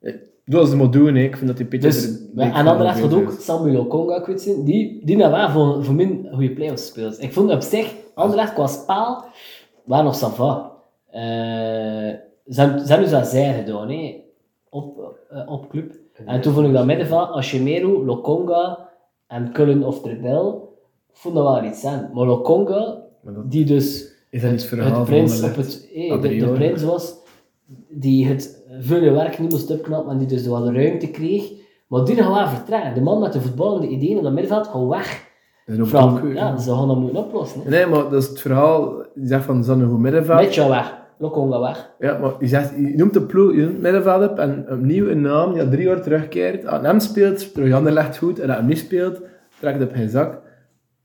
Eh, Doe als ze moet doen, hè. Ik vind dat die Peter... Dus, maar aan de andere kant gaat ook Samuel Okonga kwijt zijn. Die, die hebben wel voor, voor min goede play-offs spelers. Ik vond op zich, Anderlecht qua spaal, waren nog sava. Eh ze, hebben- ze hebben dus dat zij gedaan, hè, op, eh, op club. En toen vond ik dat middenveld, Ashimero, Lokonga en Cullen of Trudel, vond dat wel iets aan. Maar Lokonga, Maar dat- die dus Is dat niet het verhaal het van prins op Anderlecht? het, eh, Ah, de, drie de jaar. prins was die het vuile werk niet moest opknappen en die dus wel de ruimte kreeg. Maar die gaan wel vertragen. De man met de voetballende ideeën in het middenveld gaat weg. Dat is ook Vooral, donkeur, ja, hè. ze gaan dat moeten oplossen. hè. Nee, maar dat is het verhaal. Je zegt van, ze hadden een goed middenveld. Mitchell weg, Lokonga weg. Ja, maar je, zegt, je noemt de ploeg, je noemt het middenveld op en opnieuw een naam die al drie jaar terugkeert. Aan hem speelt, Trojander legt goed. En aan hem niet speelt, trekt op geen zak.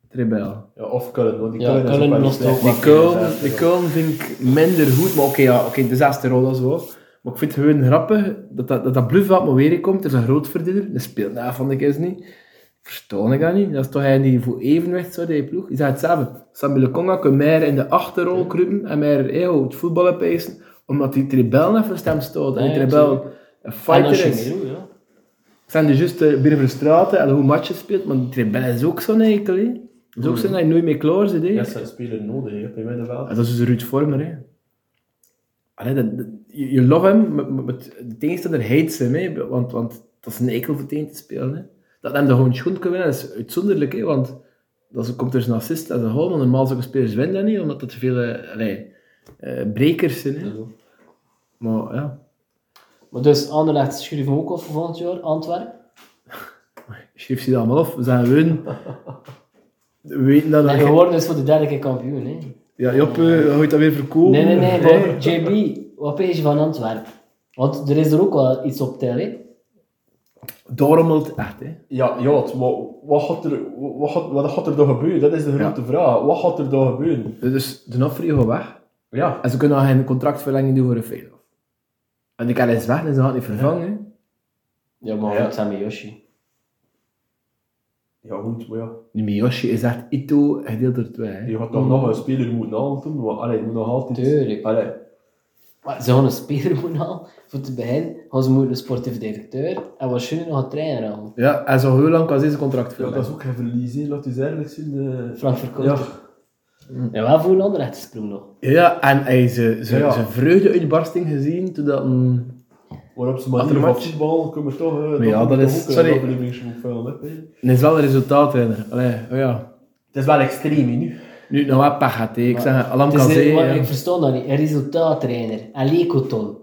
Trebel. ja, of Cullen, want die Ja, Cullen is Cullen ook wel lost slecht. ook Die Köln, die Köln vind ik minder goed, maar oké, ja, oké, de zesde rol is wel. Maar ik vind het gewoon grappig dat dat, dat, dat Blueveld maar weer komt. Er is een groot verdiener. Dat speelt na, vond ik eens niet. Verstoon ik dat niet? Dat is toch hij die voor evenwicht zou die ploeg. Je zegt hetzelfde. Samuel Conga kan meer in de achterrol kruipen en meer eh, het voetballen peisen, omdat die tribel naar verstemd staat. En die Ja, ja, tribel tuurlijk. een En fighter is. Het Ashimero, ja. zijn de juiste Birverstraten en hoe matches speelt, maar die tribel is ook zo'n eikel. hè. Dat Mm. is ook zo dat je nooit mee klaar zit. hè. Ja, ze spelen nodig hè, op je middenveld. Ja, dat is dus Ruud Vormer, hè. Allee, dat, dat- je, je love hem, maar, maar- maar de tegenstander hates hem, hè. Want, want dat is een eikel voor tegen te spelen, hè. Dat hem de gewoon schoen kan winnen, dat is uitzonderlijk, hè. Want dat is, komt er eens een assist en een goal, maar normaal zulke spelers winnen dat niet, omdat dat te veel eh, allee, eh, brekers zijn, hè. Maar ja, Maar dus Anderlecht schudde hem ook af voor volgend jaar, Antwerpen. schreef ze dat allemaal af. We zijn hun. We weten dat... En dat geworden is voor de derde keer kampioen. Hè. ja, Joppe, hoe je dat weer verkopen? Nee, nee, nee, Hè? maar JB, wat vind je van Antwerpen? Want er is er ook wel iets op tel, hè? Dormelt echt, hè. Ja, ja het- maar wat gaat, er, wat, gaat, wat gaat er dan gebeuren? Dat is de grote vraag. Wat gaat er dan gebeuren? Dus de Nofri gaat weg. Ja, En ze kunnen al geen contractverlenging doen voor een Feyenoord. En die kan is weg en ze gaat niet vervangen. hè. Ja, maar Ja. wat zijn met Yoshi? ja goed, maar ja. Die Miyoshi is echt Ito gedeeld door twee. hè. Je gaat toch nog een speler moeten aantonen, want allee, je moet nog altijd... Tuurlijk. Allee, Maar ze gaan een speler moeten halen. Voor te beginnen gaan ze moeten een sportief directeur en waarschijnlijk nog een trainer halen. Ja, en zo heel lang kan ze zijn contract ja, dat verlengen. is ook geen verlies, hè. laat eens eerlijk zijn. eh. Frank Ja, Verkoop. En wel voor een andere rechtsprong nog. Ja, en hij is eh, zijn Ja. zijn vreugdeuitbarsting gezien toen dat... mm, waarop ze maar Ander niet van match. voetbal kunnen we toch... eh, Maar ja, toch dat ook is- een sorry. aflevering moeten filmen, hè. en is wel een resultaat in. Allee, oh ja. Het is wel extreem hè, nu. Nu het nou wel pech had, hè. Ik zeg, Alam Het is kan een- maar zeggen... ik versta dat niet. Een resultaattrainer. Een Lekoton.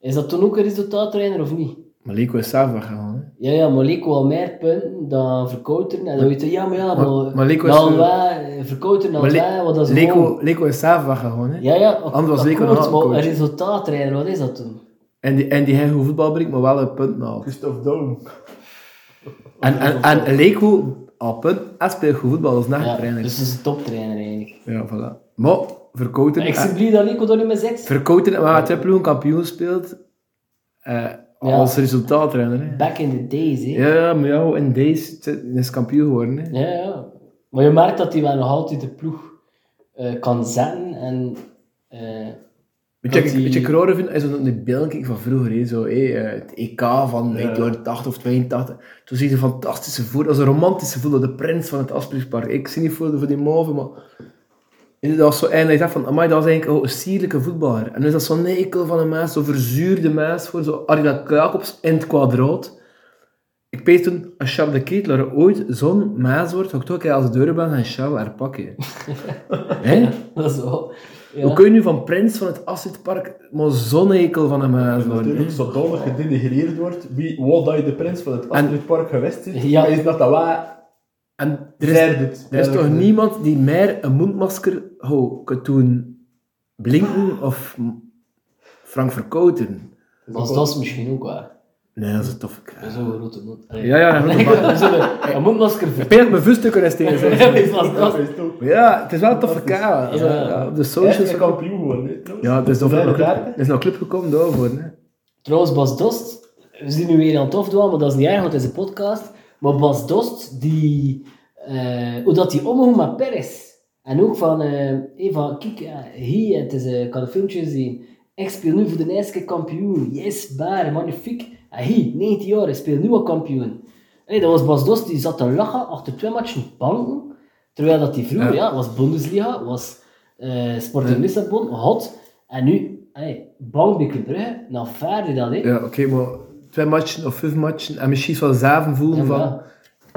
Is dat toen ook een resultaattrainer of niet? Maar Leko is zelf weggegaan. hè. Ja, ja, maar Leko al meer punten dan Verkouteren. En dan weet je, ja, maar ja, Maar- maar... eh, maar Leko is- Dan wij, Verkouteren, dan Maar Le- wij, wat dat is Leko, gewoon- Leko is zelf weggegaan. Hè. Ja, ja, Anders was dat Leko klopt, nog maar coach. Een resultaattrainer, wat is dat toen? En die, en die heeft goed voetbal brengt, maar wel een punt haalt. Christophe Daum. En, en, en Leko, al punt, en speelt goed voetbal, dat is Ja, nachtrainer. dus het is een toptrainer eigenlijk. Ja, voilà. Maar verkouden. Ik zie blij dat Leko dat nu met zegt. Verkouden en waar twee ploegen kampioen speelt. eh, Als resultaatrenner. Hè. Back in the days, hè? Ja, maar ja, in deze is kampioen geworden. Hè. Ja, ja. Maar je merkt dat hij wel nog altijd de ploeg eh, kan zetten. En, eh, Weet je, Dat ik, die- weet je, wat ik raar vind, is dat de beelden kijk van vroeger, hè, zo, hè, eh, het EK van Ja. 1980 of 82. Toen zie je een fantastische voer, als een romantische voer, de prins van het Asprichpark. Ik zie niet voor, voor die mauve, maar inderdaad was zo en hij dacht van, amai, dat was eigenlijk oh, een sierlijke voetballer. En nu is dat zo'n eikel van een mens, zo'n verzuurde mens, voor zo Arina Jacobs in het kwadraat. Ik weet toen, als Charles de Ketelaar ooit zo'n mens wordt, ga ik toch een keer als de deur ben gaan Charles haar pakken. Hè? dat is wel... Ja. Hoe kun je nu van prins van het Assetpark maar zo'n ekel van hem aan worden? natuurlijk zodanig gedenigreerd wordt, wie wou dat je de prins van het Astridpark geweest is, Ja. maar is dat dat waar? En er Er is, is, er is toch niemand die meer een mondmasker hou, kan doen blinken of m- Frank verkouten? Als dat is misschien ook waar. Nee, dat is een toffe Met kraag. Zo'n grote mond. Allee. Ja, ja, Nee, dat dat is een- Een mondmasker Ik denk dat mijn vuiststukken is tegen zijn. vertellen is vast dat. Ja, het is wel een toffe kaal. Als we- Ja. ja, Op de Hij is socials. een kampioen geworden. hè. Ja, het is nog Zijn een we club, daar? er is nog een club gekomen daarvoor. hè. Trouwens, Bas Dost, we zijn nu weer aan het afdwalen, maar dat is niet erg, want het is een podcast. Maar Bas Dost, die, eh, hoe dat hij omging met Perez. En ook van, eh, hey, van kijk, ja, hier, het is, eh, ik kan een filmpje zien. Ik speel nu voor de Nijske kampioen. Yes, baar, magnifiek. En hier, 19 jaar, ik speel nu al kampioen. Hey, dat was Bas Dost, die zat te lachen achter twee matchen banken. Terwijl dat hij vroeger, Ja. ja, was Bundesliga, was eh Sporting Lissabon, hot. En nu, hey, bang, Brugge, nou verder dan, hè. Ja, oké, maar twee matchen of vijf matchen en misschien wel zeven voelen Ja, maar van... ja.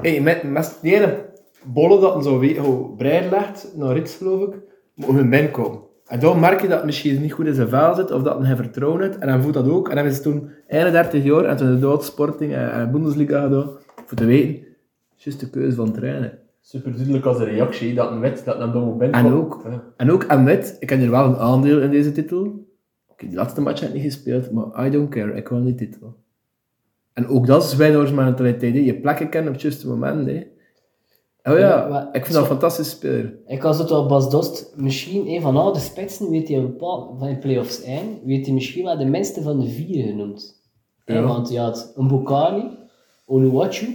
Hey, met, met die ene bollen dat een zo weet, hoe breid legt, naar rechts geloof ik, moet hun min komen. En dan merk je dat het misschien niet goed in zijn vel zit, of dat hij vertrouwen heeft, en hij voelt dat ook. En hij is toen 31 jaar, en toen de Sporting en, en Bundesliga gedaan, voor te weten, juist de keuze van trainen. Super duidelijk als een reactie, hè, dat een wet, dat een domme bent. En ook. Ja. En ook aan wet, ik heb hier wel een aandeel in deze titel. Oké, die laatste match heb ik niet gespeeld, maar I don't care, ik wil die titel. En ook dat is winnaarsmentaliteit, hè. je plekken kennen op het juiste moment. Hè. Oh Ja, ja, maar- ik vind dat een fantastisch speler. Ik was het wel Bas Dost, misschien een van al de spitsen, weet hij een bepaald van de playoffs zijn, weet hij misschien wel de minste van de vier genoemd. Ja. Ja. Want je had een Bukari, Oluwachu,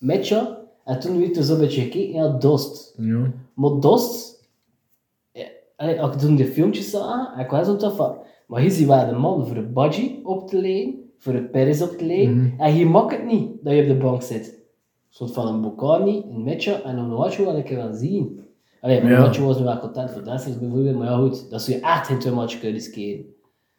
Mecha, en toen weet je zo'n beetje gekeken, ja, Dost. Ja. Maar Dost, ja, allee, als ik toen de filmpjes zag, en ik was zo tof van, maar hier zie je wel de man voor een Badji op te leiden, voor een Perez op te leiden, en hier maakt het niet dat je op de bank zit. Een soort van een Bocani, een Mecha en een Onuachu wat ik er wel zien. Allee, Ja. Onuachu was nu wel content voor Dessers bijvoorbeeld, maar ja goed, dat zou je echt geen twee matchen kunnen riskeren.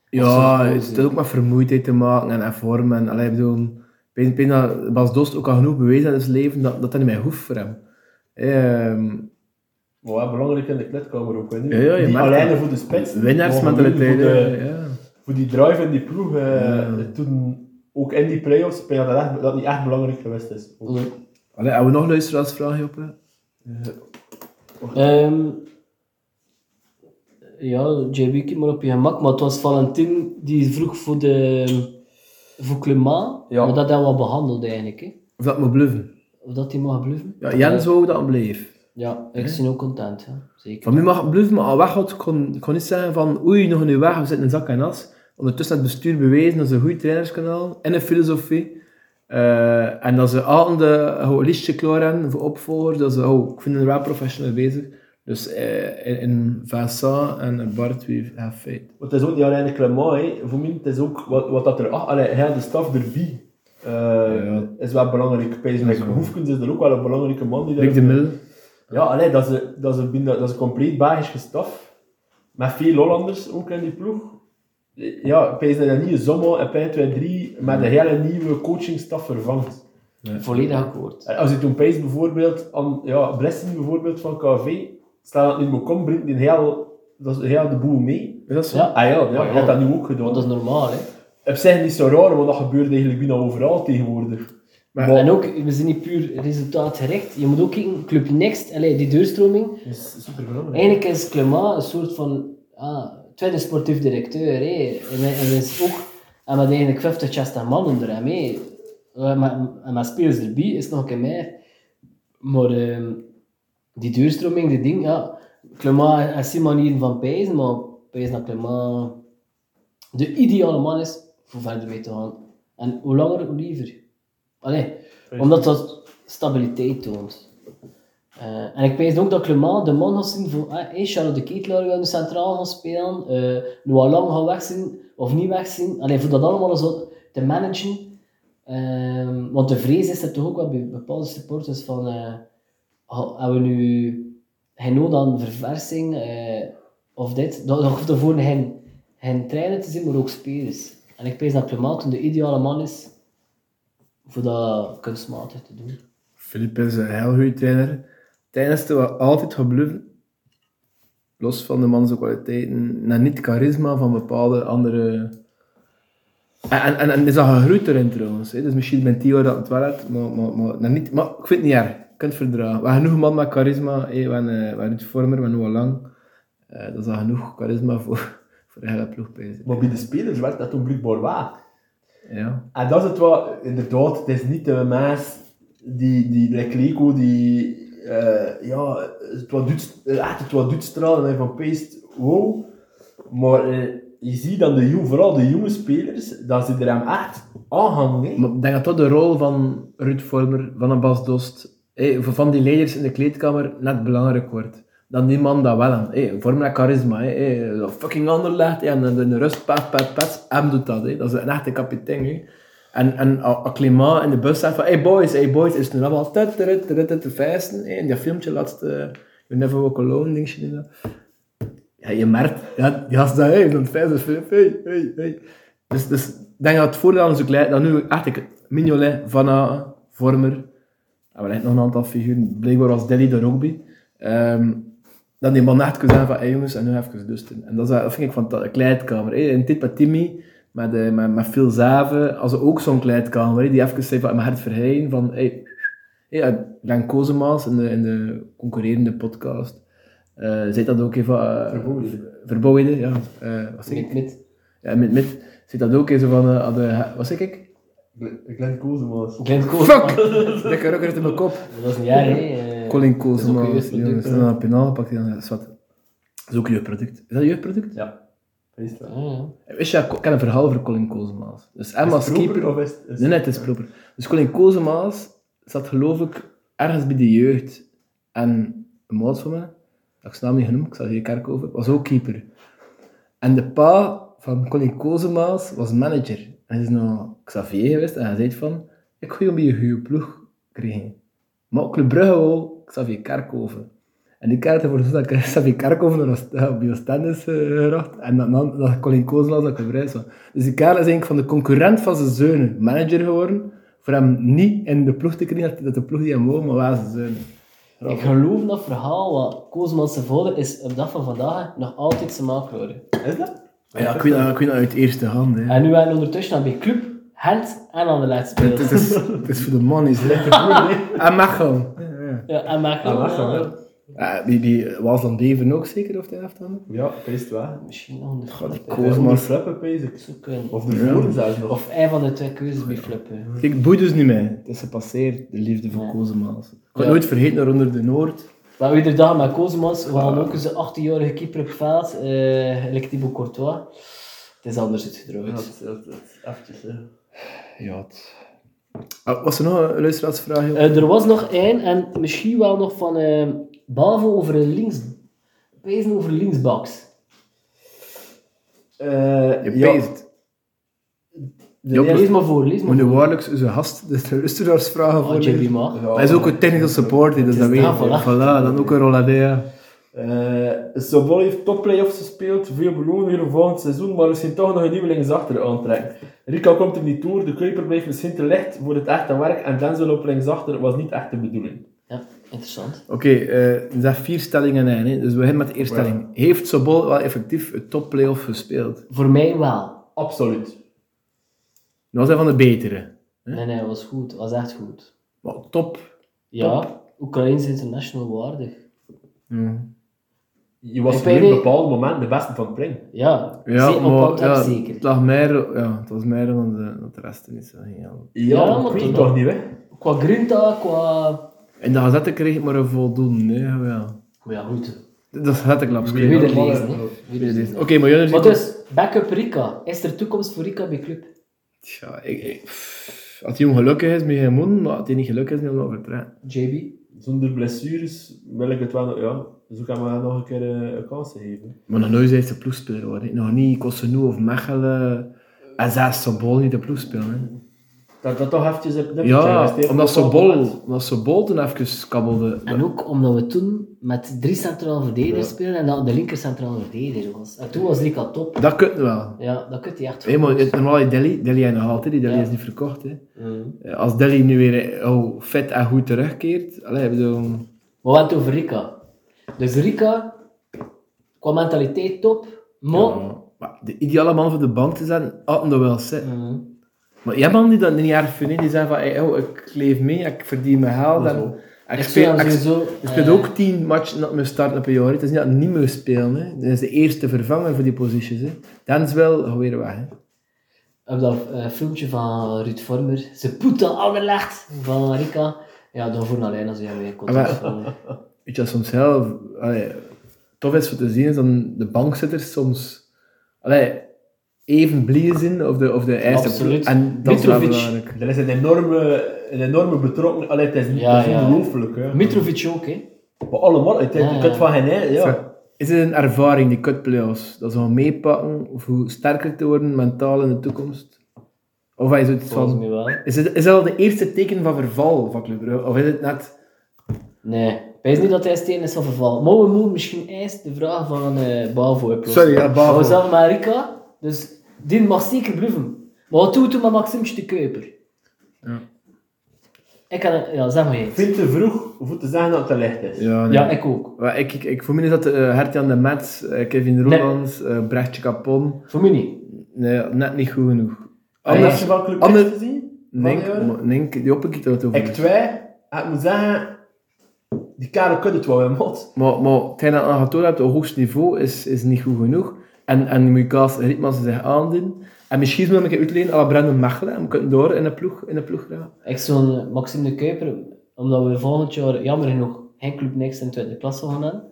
Ja, Of zo. het heeft ook met vermoeidheid te maken en, en vorm. En, allee, ik bedoel, ik denk- ik denk dat Bas Dost ook al genoeg bewezen in zijn leven dat dat, dat niet meer hoeft voor hem. Ehm, Maar wel belangrijk in de kleedkamer ook. hè, nu. Ja, ja, je die merkt alleen dat. voor de spits. winnaarsmentaliteit. Voor de- hè, Ja. Voor die drive in die ploeg, eh, Ja. toen ook in die play-offs, ben je dat, echt, dat niet echt belangrijk geweest is. Ook. Allee, hebben we nog luisteraarsvragen op? hè? Ehm, ja, JB, keep maar op je gemak, maar het was Valentin die vroeg voor de voor Clement, Ja. maar dat hebben we al behandeld eigenlijk. Hè. Of dat moet bluffen. Of dat hij mag bluffen. Ja, Jens wou dat bleef. Ja, ik ben ook content, hè. zeker. Van mij mag het bluffen, maar al weggaat, kon ik kon niet zeggen van oei, nog een uur weg, we zitten in zak en as. Ondertussen heeft het bestuur bewezen dat ze een goed trainerskanaal en een filosofie. Eh, en dat ze al de hoe, listje klaar hebben voor opvolgers. Dat ze, oh, ik vind het wel professioneel bezig. Dus eh, in, in Vincent en Bart, we have faith. Want het is ook niet alleen Clement, hè. voor mij het is ook wat, wat dat er... Ah, allee, hij had de staf erbij. Eh, ja. Is wel belangrijk. Pijselijk Dat is wel. Hoefkens is er ook wel een belangrijke man. Die Rick de daar- Mil. Ja, allee, dat, is, een- dat, is een, binnen- dat is een compleet Belgische staf. Met veel Hollanders ook in die ploeg. Ja, Pijs dat een nieuwe zomer en Pijn 2-3 met een hele nieuwe coachingstaf vervangt. Volledig akkoord. En als je toen Pijs bijvoorbeeld, aan, ja, Blessing bijvoorbeeld van KV, stel dat het niet meer komt, brengt die heel, dat is heel de boel mee. Is dat zo? Ja. Ah ja, ja, hij had dat nu ook gedaan. Want dat is normaal, hè. Op zich niet zo raar, want dat gebeurt eigenlijk bijna overal tegenwoordig. Maar- Maar- En ook, we zijn niet puur resultaatgericht. Je moet ook kijken, Club Next, allee, die deurstroming. Dat is super belangrijk. Eigenlijk is Clement een soort van ah, tweede sportief directeur. Hè. En, hij- en hij is ook, en met eigenlijk 50, 60 man onder hem. Hè. Eh, Maar, en met spelers erbij is het nog een keer meer. Maar ehm, die deurstroming, die ding, ja. Clement heeft zijn manieren van pijzen, maar pijzen dat Clement de ideale man is voor verder mee te gaan. En hoe langer, hoe liever. Allee, omdat dat stabiliteit toont. Eh, en ik weet ook dat Clement de man gaat zien voor eh, hey, Charles de Ketelaar gaat nu centraal gaan spelen, eh Noah Lang gaat wegzien of niet wegzien. Alleen voor dat allemaal zo te managen. Ehm, want de vrees is er toch ook wel bij bepaalde supporters van eh, ha- hebben we nu geen nood aan verversing eh, of dit. Dat dat hoeft ervoor geen, geen trainer te zijn, maar ook spelers. En ik pees dat Clement toen de ideale man is voor dat kunstmatig te doen. Filip is een heel goede trainer. Tijdens te wat altijd gebluffen. Los van de manse kwaliteiten, naar niet charisma van bepaalde andere. En, en, en, en is dat gegroeid erin trouwens. Hè? Dus misschien bent die dat het wel had, maar, maar, maar, naar niet, maar ik vind het niet erg. Je kunt het verdragen. We hebben genoeg man met charisma. Hè? We hebben eh, we hebben Ruud Vormer, we hebben Noah Lang. Eh, dat is al genoeg charisma voor, voor de hele ploeg. bezig. Maar bij de spelers werd dat toen blijkbaar waar. Ja. En dat is het wel, inderdaad, het is niet de mens die, die like Leko, die, eh, ja, het wat doet, laat het wat doet stralen en van Peest, wow. Maar eh, je ziet dan de, jong- vooral de jonge spelers, dat ze er hem echt aan gaan hangen. Maar ik denk dat dat de rol van Ruud Vormer, van een Bas Dost, eh, van- van die leiders in de kleedkamer net belangrijk wordt. Dan die man dat wel aan. Hey, Vormer heeft charisma. Hey, fucking anderlecht. en dan in de rust, pat, pat, pat. Hem doet dat. hè. Dat is een echte kapitein. hè. En, en als als Clément in de bus zegt van... Hey boys, hey boys. Is het nu allemaal tut, tut, tut, tut, te feesten. hè. In dat filmpje laatst... eh, you never walk alone, denk je niet dat? Ja, je merkt... Ja, die gast daar, hey, is aan het feesten. Filip, Hey, hey, hey. Dus, dus ik denk dat het voordeel aan zo'n leidt dat nu echt ik, Mignolet, Van Aken, Vormer, ah, en wellicht nog een aantal figuren, blijkbaar was Deli er ook bij, ehm, dat die man echt kan zeggen van, hey jongens, en nu even dusten. En dat, is, dat vind ik van de kleedkamer. hè. In dit met Timmy, met, eh, met, met Phil Zaven, als ook zo'n kleedkamer, hè, die even zei van, mijn hart verheyen, van, hey, ja, Len Kozemaas in de, in de concurrerende podcast, eh zei dat ook even... eh, Verbouwde. Verbouwde, ja. Eh, wat zeg ik? Met, met Ja, met, met zit dat ook in zo van, eh, hadden wat zeg ik? Glenn Kozemaas. Glenn Koolman. Fuck! Lekker rocker uit in mijn kop. Dat is een jaar, hè. eh. Colin Dat is ook Koosman, een jeugdproduct, jongens, hè. dan een penaal gepakt en dat is wat. Dat is ook een jeugdproduct. Is dat een jeugdproduct? Ja. Is het wel. Ah, ja. Wist je, ik ken een verhaal over Colin Koosmaas. Dus hem Is als het proper keeper... of is het- is Nee, nee, het is proper. Dus Colin Koosmaas zat geloof ik ergens bij de jeugd. En een maat van mij, dat ik zijn naam niet genoemd, ik zat hier kerk over, was ook keeper. En de pa van Colin Koosmaas was manager. En hij is naar Xavier geweest en hij zei van, ik ga je bij je goede ploeg krijgen. Maar Club Brugge wou Xavier Kerkhoven. En die kaart ervoor gezorgd dat Xavier Kerkhoven naar Oost- eh, bij Oostenders eh, geraakt. En dat, nam- dat Colin Koosland dat Club Brugge was. Dus die kaart is eigenlijk van de concurrent van zijn zeunen manager geworden. Voor hem niet in de ploeg te krijgen, dat- dat de ploeg die hem wou, maar wel zijn zeunen. Ik geloof dat verhaal, want Koosmans zijn vader is op dag van vandaag nog altijd zijn maakroder. Is dat? Ja, ik weet dat, ik weet dat uit eerste hand. Hè. En nu zijn we ondertussen aan bij Club, Gent en aan de laatste speelt. Het, is, het is voor de man, is lekker En mag gewoon. Ja, ja. Ja, en maak Ah, wacht, ja. wel. Eh, die, die was dan Deven ook zeker, of de helft dan? Ja, Peest wel. Misschien nog een eh, die flip Koolman. Kozemaas. Flappen, Peest. ik. zoeken. Of de voren zelfs nog. Of een van de twee keuzes bij flippen. Kijk, het boeit dus niet mee. Het is gepasseerd, de liefde voor Kozemaals. Ik kan Ja. nooit vergeten naar onder de Noord. Maar iedere dag met Koosmans, we hadden ook eens een 18-jarige keeper op het veld, eh like Thibaut Courtois. Het is anders Ja, uitgedroogd. dat- dat- dat- Eventjes, hè. Ja, het... Ah, was er nog een luisteraarsvraag? joh? Eh, er was nog één, en misschien wel nog van eh Bavo over een links... Pezen over linksbaks. Eh, Je ja, peest. Ja, Ja, lees maar voor, lees Maar maar nu voor. waarlijks is een gast, dus de luisteraarsvragen Oh, voorlezen. JB mag. ja, Hij is ook een technical support, hè, dus is dat weet je. daar, voilà. Voilà, dan ook een Roladea. Eh, Sobol heeft topplayoffs gespeeld, veel beloning voor volgend seizoen, maar misschien toch nog een nieuwelings achter aantrekken. Rica komt er niet door, de Kuiper blijft misschien te licht voor het echte werk en Denzel op linksachter was niet echt de bedoeling. Ja, interessant. Oké, eh er zijn vier stellingen in. Hè. Dus we beginnen met de eerste Ja. stelling. Heeft Sobol wel effectief het topplayoff gespeeld? Voor mij wel. Absoluut. Nou, Dat was hij van de betere. Nee, nee, het was goed. Het was echt goed. Maar top. Ja, Oekraïns international waardig. Hmm. Je was Ik op een weet niet. bepaald moment de beste van het brengen. Ja, Ja, zeker. maar op ja, ja, zeker. Het, lag meer, ja, het was meer dan de, dan de rest. Niet zo heel. Ja, maar maar ik weet toch toch wel. niet, hè? Qua grinta, qua... In de gazette kreeg ik maar een voldoende. Hè. Ja. Maar ja, goed. Dat is zetteklaps. Wie weet het normaal, lezen, hè. hè. Wie weet het Oké, lezen. maar jullie Maar zien... dus, backup Rika. Is er toekomst voor Rika bij club? Tja, ik, ik, pff. als die jongen gelukkig is met geen moeder, maar als die niet gelukkig is, dan over het trainen. JB? Zonder blessures wil ik het wel, nog- ja. Zo gaan we nog een keer eh, een kans geven. Maar nog nooit is de ploegspeler worden. hè. Nog niet Cotonou of Mechelen. En zelfs Sobol niet de ploegspeler. hè. Dat dat toch eventjes hebt Ja, omdat Sobol, omdat Sobol toen even kabbelde. En ook omdat we toen met drie centrale verdedigers spelen en dat de linker centrale verdediger was. En toen was Rika top. Dat kunt wel. Ja, dat kunt hij echt Hé, maar het- normaal is Delhi, Delhi en nog altijd, die Delhi Ja. is niet verkocht. Hè. Mm. Eh, Als Delhi nu weer eh, oh, fit en goed terugkeert, allee, ik bedoel, Maar we hebben het over Rika. Dus Rika, qua mentaliteit top, maar... ja, maar de ideale man voor de bank te zijn, hadden er wel zitten. Mhm. Maar jij man die dat niet erg vindt, hè, die zeggen van, hey, oh, ik leef mee, ik verdien mijn geld. Zo. En, en ik Ik speel, zou ik, sowieso, ik eh, speel ook tien matchen op mijn start op een jaar. hè. Het is niet dat ik niet meer spelen. Hè. Dat is de eerste vervanger voor die posities. Hè. Dan is wel gewoon weer weg. Hè. Op dat eh, filmpje van Ruud Vormer, ze poet aan Anderlecht van Rika. Ja, dan voor alleen als jij mee komt. Maar- Weet je, dat soms zelf allee, tof is voor te zien, is dan de bankzitters soms allee, even blij zijn of de, of de eisen- Absoluut. En dat is wel Mitrovic. belangrijk. Er is een enorme, een enorme betrokkenheid. Allee, het is, Ja, het is ja. ongelooflijk. Hè. Mitrovic ook, hè? Maar allemaal, het, Ja, je ja. kunt van geen eind, ja. Zo, Is het een ervaring, die cut playoffs? Dat ze gaan meepakken of hoe sterker te worden mentaal in de toekomst? Of is het Volgens van... mij wel. Is, het, is dat al de eerste teken van verval van Club Brugge? Of is het net... Nee, ik weet niet dat hij steen is van verval. Maar we moeten misschien eerst de vraag van eh Bavo oplossen. Sorry, ja, Bavo. Maar We zijn met Rika, dus die mag zeker blijven. Maar wat doen we toen met Maximtje de Kuiper? Ja. Ik kan, ja, zeg maar jij. Ik vind het te vroeg om te zeggen dat het te licht is. Ja, nee. Ja, ik ook. Maar ik, ik, ik, voor mij is dat eh Hertjan de Metz, eh, Kevin Roelands, eh Brechtje Capon. Voor mij niet. Nee, net niet goed genoeg. En Anders- heb je wel Club ander- Brugge gezien? Van Nink, die jaren? maar Nink, die hoppakee dat over. Ik twee, en ik moet zeggen, die karel kut het wel weer mot. Maar, maar hetgeen dat je aan getoond hebt, op hoogst niveau, is, is niet goed genoeg. En, en moet je Kaas Rietmans zich aandienen. En misschien moet ik het uitlenen aan Brandon Mechelen. En we kunnen door in de ploeg, in de ploeg gaan. Ik zo'n eh, Maxime de Kuiper, omdat we volgend jaar jammer genoeg geen Club Next in tweede klasse gaan hebben,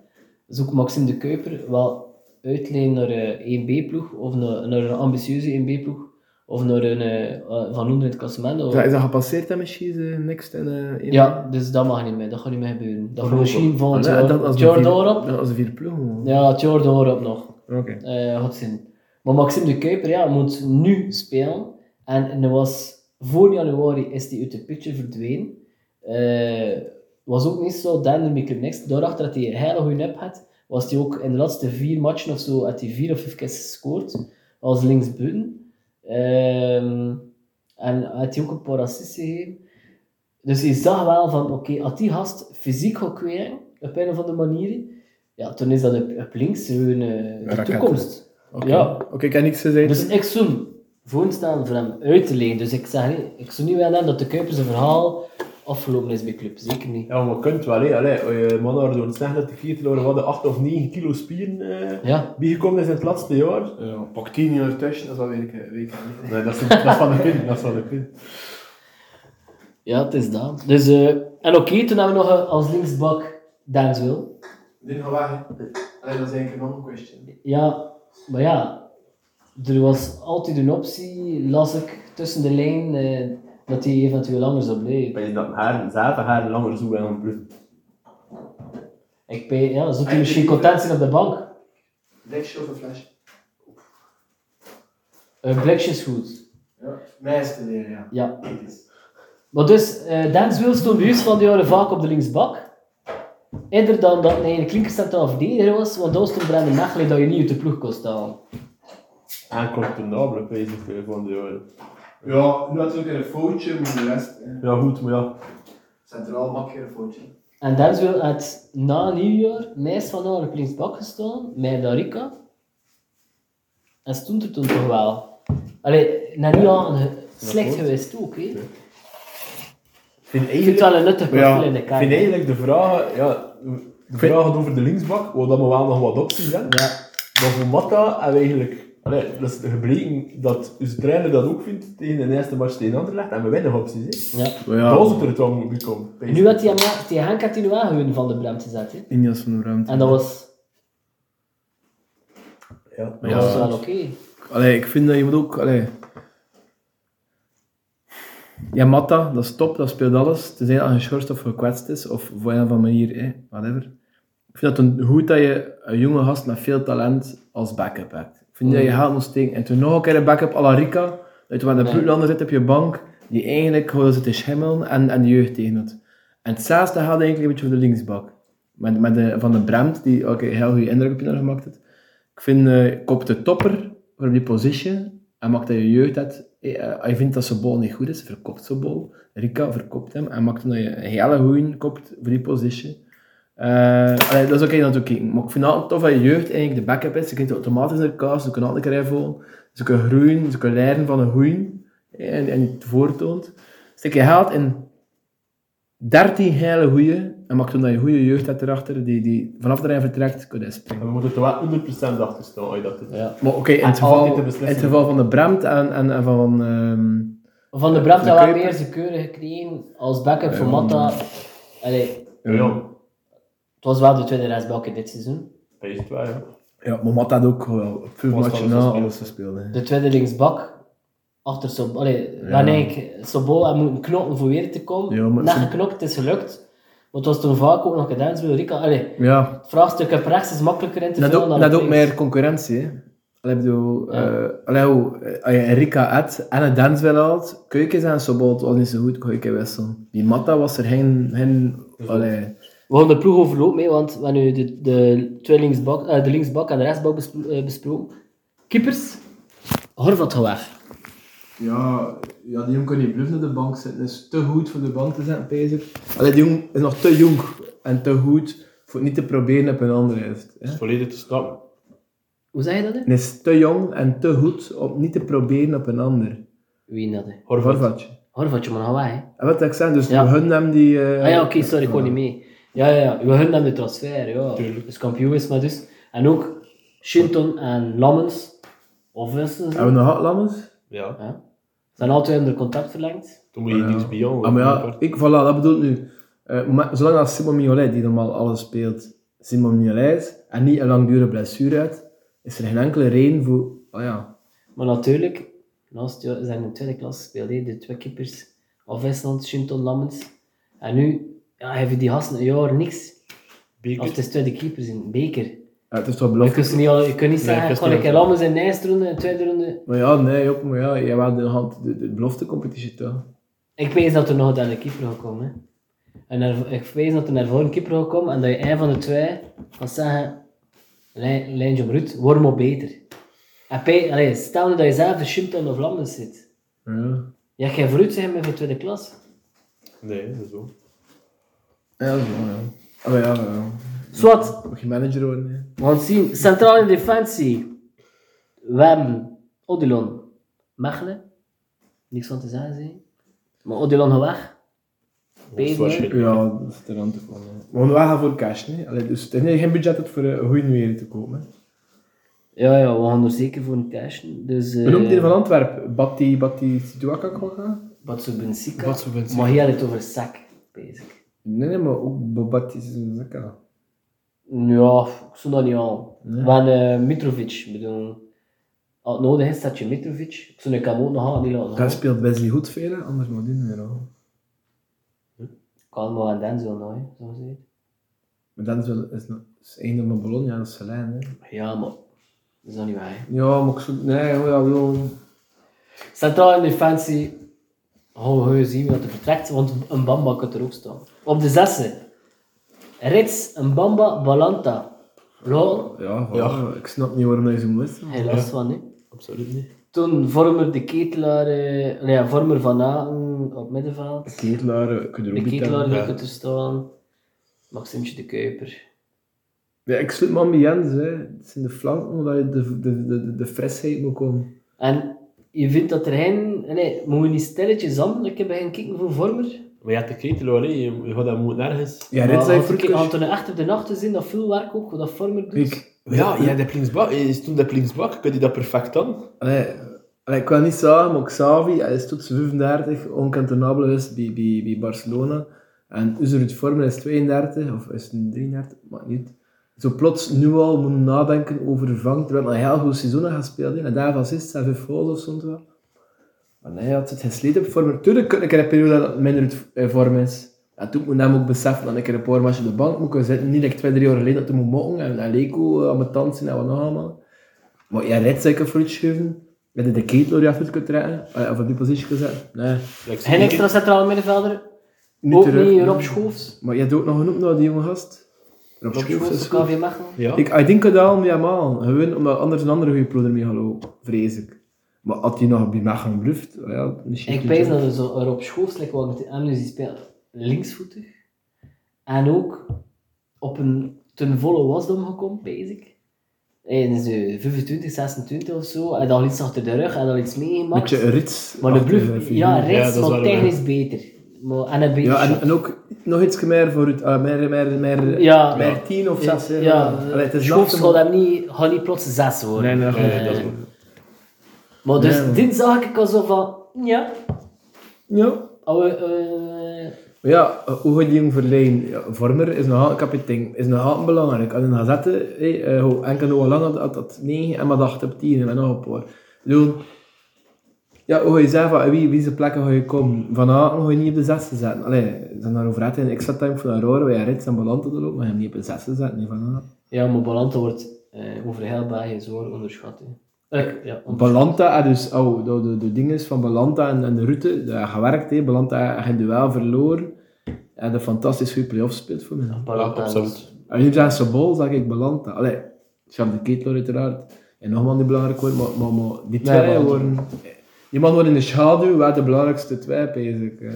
zoek Maxime de Kuiper wel uitleen naar eh, een 1B-ploeg of naar, naar een ambitieuze 1B-ploeg of naar een eh, eh, van onder in het klassement. Is Of... dat, is dat gepasseerd dan misschien, eh, niks? En, eh, één- Ja, dus dat mag niet meer, dat gaat niet meer gebeuren. Dat gaat Waarom? misschien Ah, volgend nee, jaar, dat als het de jaar vier- daarop. Dat als de vier ploegen. Ja, het jaar daarop nog. Oké. eh goed zin. Maar Maxime de Kuiper ja, moet nu spelen. En, en er was, voor januari is hij uit de picture verdwenen. Eh, was ook niet zo dender met Club Next. Daarachter dat hij een hele goede nep had, was hij ook in de laatste vier matchen of zo, had hij vier of vijf keer gescoord. Als linksbuiten. Ehm, en had hij ook een paar assists gegeven. Dus je zag wel van, oké, als die gast fysiek gaat kweren, op een of andere manier, ja, toen is dat op, op links hun eh, de Raket. toekomst. Oké. Ja. Oké, ik heb niks gezegd. Dus ik zou voorstaan voor hem uit te lenen. Dus ik zeg niet, ik zou niet willen dat de Kuiper zijn verhaal afgelopen is bij club. Zeker niet. Ja, maar je kunt wel, hè. Allee, als je mannen door het zeggen dat de Kieteloren hadden 8 of 9 kilo spieren eh, Ja, bijgekomen is in het laatste jaar. ja, pak tien jaar tussen, dat is wel weer een week. Nee, dat is, dat is van de pin, dat is van de pin. ja het is dat. Dus, eh, en oké, toen hebben we nog eh, als linksbak Denswil. Dit gaat weg. Alleen dat is eigenlijk nog een question. Ja, maar ja, er was altijd een optie, las ik tussen de lijn, eh, dat hij eventueel langer zou Ik blijven. weet dat haar, zaten haar langer zo en bloed. Ik ben, ja, zou hij misschien content zijn op de bank? Dekje of een flesje? Een blikje Eh, is goed. Ja. Meisje leren, ja. Ja. Maar dus, eh Denswil stond bij ons van de jaren vaak op de linksbak. Eerder dan dat hij een klinkercentraal verdediger was, want dan stond Brendan Mechelen dat je niet uit de ploeg kon staan. En comfortabel, op bezig eh, van de jaren. Ja, nu had ook een foutje, maar de rest... Ja, goed, maar ja. Centraal makkelijker foutje. En Denswil had na nieuwjaar meest van allen op linksbak gestaan, met Darica. En stond er toen toch wel. Allee, na nu aan slecht klopt. geweest ook, hè. Ik Ik vind vind het eigenlijk, wel een nuttig Ja, profiel in de ik vind kaart. eigenlijk de vraag, ja, de vraag gaat over de linksbak, waar dat we wel nog wat opties hebben. Ja. Maar voor Matta hebben we eigenlijk... Allee, dat is gebleken dat onze trainer dat ook vindt tegen de eerste match tegen Anderlecht. En we weinig opties, ja. hè. Ja, Ja. Dat er het wel moet komen. Nu had hij hem, die Henk had hij nu wel gewoon van de brem gezet, hè. Injas van de ruimte. En dat was, Ja. dat Ja. was wel oké. Allee, ik vind dat je moet ook... Allee... Ja, Matta, dat is top, dat speelt alles. Tenzij dat geschorst of gekwetst is, of op een of andere manier, eh, whatever. Ik vind het een- goed dat je een jonge gast met veel talent als backup hebt. Ik vind dat je haalt moet steken. En toen nog een keer een backup à la Rica, dat je met een Ja. ploeglander zit op je bank, die eigenlijk gewoon zit te schimmelen en, en de jeugd tegenhoudt. En hetzelfde gaat eigenlijk een beetje voor de linksbak. Met, met de, van de Bremt, die ook een heel goede indruk op je gemaakt heeft. Ik vind eh Kop de topper voor op die positie. En maakt dat je jeugd hebt. eh, Hij vindt dat zijn bal niet goed is, verkoopt zijn bal. Rika verkoopt hem en maakt dat je een hele goeie kopt voor die positie. Eh, allee, dat is oké dat ook kijken. Maar ik vind het altijd tof dat je jeugd eigenlijk de backup is. Ze krijgt automatisch naar de kaas, ze kunnen altijd een keer volgen. Ze kunnen groeien, ze kunnen leren van een goeie. eh, En, en die het voortoont. Stik je geld in 13 hele goeie. En maakt toen dat je een goede jeugd hebt erachter, die, die vanaf de rij vertrekt, kunnen springen. En we moeten er wel 100% achter staan als je dat doet. Ja. Maar oké, in, En het geval- altijd de in beslissing. het geval van de Bremt en, en, en van... ehm, Van de Bracht De had wel Kuiper. meer zijn keuren gekregen als backup voor Matta. Allee, het Ja, ja. was wel de tweede rechtsbak in dit seizoen. Dat is het wel, ja. ja, maar Matt had ook wel veel Was matchen alles na gespeeld. alles gespeeld. hè. De tweede linksbak. Achter Sobol. Allee, waarna ik Sobol had moeten knokken voor weer te komen. Ja, Ja, maar Sob- geknokt, het is gelukt. Want het was toen vaak ook nog gedaan. Zo, Rika, allee, Ja, het vraagstuk op rechts is makkelijker in te dat vullen ook, dan dat op ook links. meer concurrentie. Hè. Allee, ik bedoel, Ja. eh, allee, hoe, eh, als je Rika had en een dans wil had, Keukens en Sobol, het was niet zo goed, kon je een keer wisselen. Die Matta was er geen... geen allee, We gaan de ploeg overloop mee, want we hebben nu de, de, twee linksbak, eh, de linksbak en de rechtsbak bespro- eh, besproken. Keepers, Horvat gaat weg. Ja, ja, die jong kan niet bluffen op de bank zitten. Dat is te goed voor de bank te zetten, bezig. Allee, die jong is nog te jong en te goed voor het niet te proberen op een ander heeft. Hè? Dat is volledig te snappen. Hoe zei je dat? Hè? En is te jong en te goed om niet te proberen op een ander. Wie dat? Hè? Horvat. Horvatje. Horvat, je moet nog weg. Hè? En wat ik zei, dus Ja. hun hem die... eh, Ah ja, oké, sorry, ik kon niet mee. Ja, ja, ja. We hebben hem de transfer, ja. Tuurlijk. Dus kampioen is maar dus. En ook Shinton en Lammens, of Wessels, Hebben we nog Atlammers? Ja. ja. zijn al twee onder contract verlengd. Toen moet je niks bij jou. Ah, maar ja, ik, voilà, dat bedoel ik nu. Eh, maar zolang dat Simon Mignolet, die normaal alles speelt, Simon Mignolet is, en niet een langdurige blessure uit, is er geen enkele reden voor... Ah ja, Maar natuurlijk, naast jou zijn in de tweede klas gespeeld, hè, de twee keepers. Of Westland, Shinton, Lammens. En nu ja, hebben die gasten een jaar niks. Of het is tweede keepers in beker. Ja, het is toch Je belofte. kunt, ze niet, al- je kunt niet Nee, zeggen, ik gewoon wist ik het heb Lammens in de eerste ronde en de tweede ronde. Maar ja, nee, Job, maar ja, jij had de, hand- de, de beloftecompetitie toch? Ik weet dat er nog een derde keeper gaat komen. hè. En er, ik weet dat er naar voren een keeper gaat komen en dat je een van de twee kan zeggen, Lijn- lijntje om Ruud, word maar beter. En bij, allee, stel nu dat je zelf in Shinton of Lammens zit. Ja. Ja, jij vooruit zijn met de tweede klas. Nee, dat is zo. Ja, dat is wel, ja. Ah, maar ja, maar ja. Zwat, Mag je manager worden, hè? we gaan het zien. Centraal in defensie. Wem, Odilon, Mechelen. Niks van te zeggen, zie je. Maar Odilon gaat weg. Bezig. Waarschijnlijk. Ja, dat is er aan te komen. We gaan wel gaan voor cash, nee? Allee, dus het is niet- geen budget het voor eh, een goede weer te komen. hè. Ja, ja, we gaan er zeker voor een cash. Dus, eh, We noemen die van Antwerpen. Batti, Batti, Situaka Kwaga? Batsu Bensika. Batsu Bensica. Maar hier had het over zak, bezig. Nee, nee, maar ook Bo- Batti Situaka. Ja, ik zou dat niet aan. Maar eh, Mitrovic, bedoel... Als het nodig is, staat je Mitrovic. Ik zou een Camo nog aan die laten Daar gaan. speelt Wesley goed velen, anders moet doen weer al. Kan maar aan Denzel nog, hè, zoals hij heet. Maar dan is wel- is nog is één van Bologna, dat is Salijn, hè. Ja, maar... Dat is nog niet waar, hè. Ja, maar ik zo... Nee, ja, ja, bedoel... Centraal in defensie. Oh, we zien wat er vertrekt, want een Bamba kan er ook staan. Op de zesde. Rits, een Bamba, Balanta. Lol, Ja, voilà. Ja. ik snap niet waarom hij zo moet. hij last van, hè. Absoluut niet. Toen vormer de ketelaar, eh, nee, ja, vormer van Aten op middenveld. Ketelaar, eh, ik kan er De ook niet ketelaar aan. leuk te staan. Maximtje de Kuiper. Ja, ik sluit me aan bij Jens, hè. Het zijn de flanken omdat je de, de, de, de, de frisheid moet komen. En je vindt dat er geen, nee, moet je niet stilletjes aan, ik heb geen kijken voor vormer. Maar je hebt de ketelaar, hè. je je gaat dat moet nergens. Ja, Maar dit zijn als ik had fruitjes. toen echt op de nacht te zien, dat veel werk ook, wat dat vormer doet. Ik, Ja, ja, de Plinsbak. Is toen de Plinsbak, kun je dat perfect dan? Allee, allee, ik kan niet zeggen, maar Xavi hij is tot zijn 35 onkantonabel is bij, bij, bij Barcelona. En Uzerud Vormen is 32, of is het 33, maakt niet. Zo plots nu al moet nadenken over vervang, terwijl hij een heel goed seizoen had gespeeld. heeft. En daarvan is het, vijf goals of soms wel. Maar nee, hij had het gesleten op vorm. Tuurlijk, een keer een periode dat het minder het- in vorm is. En toen moet hij ook beseffen dat ik er een paar matchen op de bank moet kunnen zitten. Niet dat ik twee, drie jaar geleden dat hij moet mokken. En en Leko eh, aan mijn tand zien en wat nog allemaal. Maar jij rijdt zeker voor het schuiven. Met de ketel die af kunt trekken. eh, Of op die positie kunt zetten. Nee, Geen extra centrale middenvelder. niet ook terug. niet Rob Schoofs. Maar je hebt ook nog genoemd naar die jonge gast. Rob Rob Schoofs Schoofs, is goed. KV Mechelen. Ja. Ik, ik denk dat daarom ja man. Gewoon omdat anders een andere goede ploeg ermee gaat lopen. Vrees ik. Maar had hij nog bij mij gaan bluft, Oh ja, misschien... Ik weet dat er zo Rob Schoofs, like wat ik hem nu zie spelen, linksvoetig. En ook op een ten volle wasdom gekomen, basic. In zijn 25, 26 of zo. En dan iets achter de rug en dan iets Een meegemaakt. beetje een rits. Maar de achter bluff, figuur. ja, Ja, dat rechts, is maar waar, ja. technisch beter. Maar, en een beter Ja, en, shot. en ook nog iets meer voor het... ah, meer, meer, meer, Ja. meer tien of zes. hè. ja, Allee, het is Schoofs nacht, gaat maar- hem niet, gaat niet plots zes worden. Nee, nee, Eh, goed, dat is goed. Maar dus, Nee, maar- dit zag ik al zo van, ja, Ja. oude, eh, Maar ja, eh, hoe gaat die jong verleden? Ja, vormer is nog altijd kapitein, is nog altijd belangrijk. Als je gaat zetten, hey, eh, hoe enkel hoe lang had- had dat 9 en maar 8 op 10 en nog een paar. Ik bedoel, ja, hoe ga je zeggen van eh, wie, wie zijn plekken ga je komen? Van Aken ga je niet op de 6 zetten. Allee, zijn daarover uit in extra time van Aurora, waar je rits en belandt er ook, maar je hem niet op de 6 zetten. Nee, van Aken. ja, maar Balanta wordt eh over heel België zwaar onderschat. hè. Eh, ja, on- Balanta, eh, dus oh, de, de, de ding is van Balanta en, en de route, dat heeft gewerkt. hè. Balanta heeft geen duel verloren. En een fantastisch goede play-off speelt voor mij. Balanta is- absoluut. En nu zijn Sabol, zag ik beland. Allee, Sam de Keetler uiteraard. En nog man die belangrijk wordt, maar, maar, maar die Nee, twee maar- worden... Die man wordt in de schaduw, wat de belangrijkste twee, eigenlijk.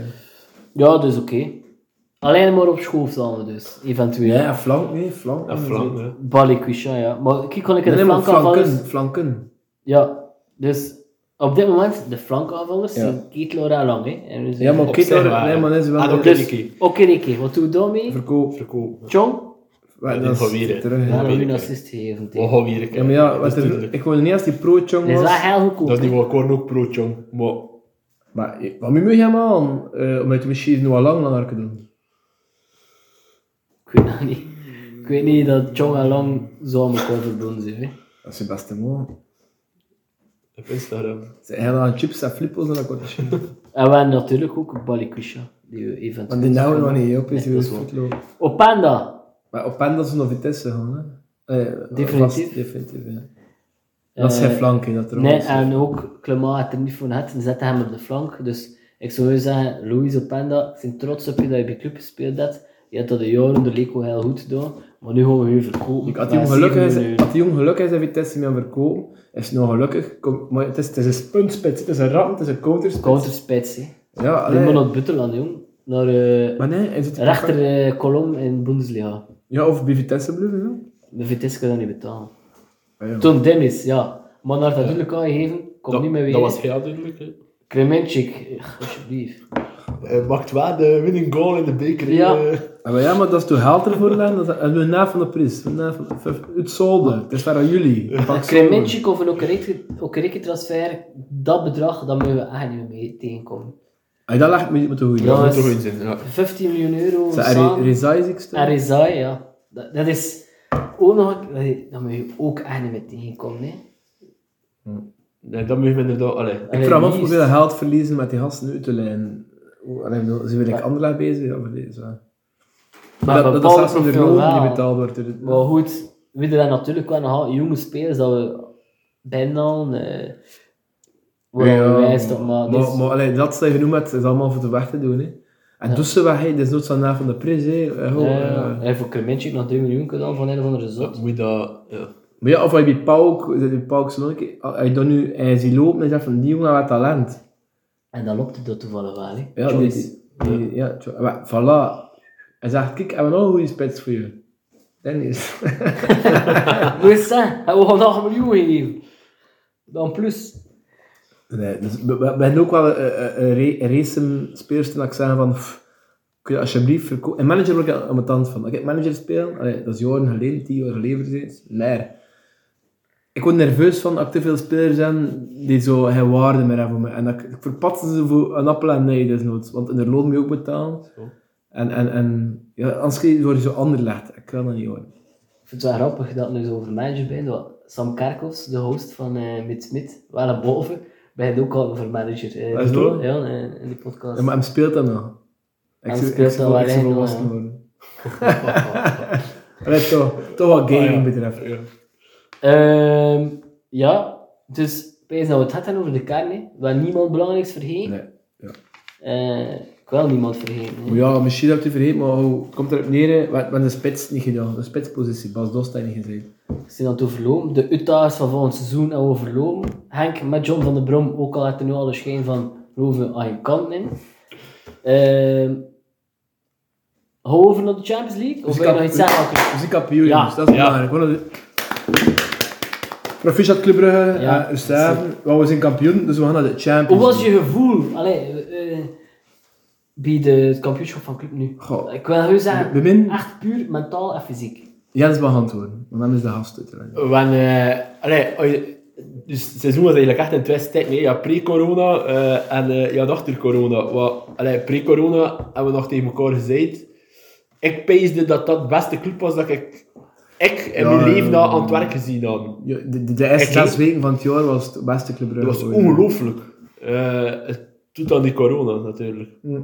Ja, dus oké. Alleen maar op schoof dan we dus, eventueel. Ja, flank, nee, flank. En Frank, hè. Balikwisha, ja. Maar kijk, kon ik Nee, de nee, maar flankaanvallers... flanken, flanken. Ja, dus op dit moment, de flankaanvallers Ja. zijn Keetlora en Lang, hè. En dus- Ja, maar Op Keetler, zich waar. nee, maar is wel... Ah, dat een is- Dus, Okereke, wat doe je daarmee? verkoop. Verkoop. Chong? Ja, dit dat is gaan we hier, hè. terug, hè. Ja, dat weet nu ik een niet. assist gegeven We tegen. gaan weer kijken. Ja, maar ja, Dat is wat er- duidelijk. ik wilde niet als die pro-chong Dat is wel was. heel goedkoop. Dat is hè. niet wat Korn ook pro-chong. Maar Maar eh, wat moet je hem aan? Eh, Omdat je misschien nog wel lang langer kunt doen. Ik weet dat niet. Ik weet niet dat Chong en Long zo aan elkaar verbonden zijn. hè. Dat is je beste man. op Instagram. Ze hebben aan chips en flippels en dat korte shit. En we hebben Ah natuurlijk ook Balikwisha, die we eventueel... Want die nou nog niet op is, Nee, die wil dat is waar. voetlopen. Openda! Maar op hen dat ze naar Vitesse gaan, hè? Eh, Definitief. vast, definitief, ja. Dat is Eh, geen flank, hè, dat er Nee, was. en ook Clement had er niet voor net en zette hem op de flank. Dus ik zou zeggen, Louis Openda, ik ben trots op je dat je bij club gespeeld hebt. Je hebt dat de jaren de Leco heel goed gedaan. Maar nu gaan we je verkopen. Ik had die Maar ongelukkig zeven is, miljoen. had die ongelukkig is in Vitesse met verkopen, is het nog gelukkig. Kom, maar het is, het is een puntspits, het is een rat, het is een counterspits. Counterspits, hè. Ja, Nu allee. moet naar het buitenland, jong. Naar eh Maar nee, hij zit rechter eh, kolom in Bundesliga. Ja, of bij Vitesse blijven, De Vitesse kan dat niet betalen. Ah, ja. ja. Toen Dennis, ja. Maar naar dat duidelijk aangegeven, kom Dat, niet meer weer. dat was heel duidelijk. hè. Kremenchik, eh, alsjeblieft. Hij Eh, maakt wel de winning goal in de beker. hè. Ja. Eh, Ah, maar ja, maar dat is toch geld ervoor dan? Dat is dat is een naam van de prijs. Een naam van- van- Het solde, het is van aan jullie. Pak solde. Kremenchik of een Okereke- Okereke-transfer, dat bedrag, dat moeten we echt niet meer mee tegenkomen. Ah, dat lag me met de goede. Ja, Ja, Dat moet toch in zijn. Ja. 15 miljoen euro samen. Resize ik RSI, ja. Dat, dat is ook nog... een- Dat moet je ook echt niet meer tegenkomen, hè. Nee, dat moet je inderdaad. Allee. Ik vraag me af Lies. hoeveel geld verliezen met die gasten uit te lijnen. Hoe- allee, ik bedoel, Zijn we like Anderlecht bezig over deze? Maar Maar dat, dat is bepaalde zelfs onder de profiel loon die wel. betaald wordt. dus- door het- Maar goed, we hebben daar natuurlijk wel nog jonge spelers dat we bijna... eh waar Ja, we wijzen op, maar... dus- maar, maar allee, dat dat je genoemd hebt, is allemaal voor de weg te doen. Hè. En Ja. dus ze weg, hè, dat is nooit zo'n naam van de prijs. Hè. Eh, goh, Ja, eh. ja. Hij heeft voor Kremenchik nog 3 miljoen gedaan van een of andere Dat zot. moet je dat. Ja. Maar ja, of hij bij Pauk, dat die Pauk zo hij doet nu, hij ziet lopen en zegt van die jongen heeft talent. En dan loopt het dat toevallig wel. Hè. Ja, die, Joyce. die- die- ja, tjo- maar voilà. Hij zegt, kijk, hebben we nog een goede spits voor je. Dennis. Moet je zeggen, hij wil nog een miljoen geven. Dan plus. Nee, dus we, we- we hebben ook wel eh, eh, eh, ra- racing-spelers toen ik zei van... pff, Kun je alsjeblieft verkopen... En manager word ik aan aan mijn tand van. Ik heb manager spelen, allee, dat is jaren geleden, tien jaar geleden precies. Nee. Ik word nerveus van dat ik te veel spelers zijn die zo geen waarde meer hebben voor mij. En dat ik, ik verpatste ze voor een appel en nee, desnoods. Want in de loon moet je ook betalen. Zo. En, en, en ja, anders word je zo ander legt. Ik kan dat niet hoor. Ik vind het wel grappig dat het nu zo over manager bent. want Sam Kerkhoffs, de host van eh Mid Smit, wel naar boven. begint ook al over manager. eh, Ah, Is het Dino, ook? Ja, eh, in, in die podcast. Ja, maar hem speelt dat nog. Ik Hem zou- speelt ik zou- dat ik wel zou echt volwassen nog, worden. Allee, toch, toch wat Oh gaming betreft. Ehm, ja, dus wees nou, het had dan over de kern, hè. Waar niemand belangrijks vergeten. Nee, ja. Eh, ik wil niemand vergeten. hè. Maar ja, misschien heb je het vergeten, maar hoe- het komt erop neer, hè. we hebben de spits niet gedaan. De spitspositie, Bas Dost heeft niet gezeten. Ze zijn aan het overlopen. De uitdagers van volgend seizoen hebben we overlopen. Henk met John van den Brom, ook al had er nu al een schijn van roven aan je kant in. Ehm gaan we over naar de Champions League? Of Dus wil ik je nog heb- iets zeggen? Alke? Dus ik heb Pio, Ja. jongens, dat is Ja. belangrijk. Gewoon dat- Proficiat Club Brugge, Ja. ja. Eustaven. Want we zijn kampioen, dus we gaan naar de Champions Hoe was League. je gevoel allee, eh, eh, bij de, het kampioenschap van Club Nu? Goh. Ik wil heel zeggen, Bij min? echt puur mentaal en fysiek. Jens mag antwoorden, want dan is de gast uiteraard. Want, eh, allee, als je- dus het seizoen was eigenlijk echt een twist. Nee, ja, pre-corona eh, en eh, ja, achter corona. Wat, allee, pre-corona hebben we nog tegen elkaar gezegd. Ik peesde dat dat de beste club was dat ik, ik in Ja, mijn leven ja, na ja. aan het werk gezien had. Ja, De, de, de eerste Ik- zes weken van het jaar was het beste Club Dat Brugge. was ooit. ongelooflijk. Eh, het doet aan die corona natuurlijk. Ja.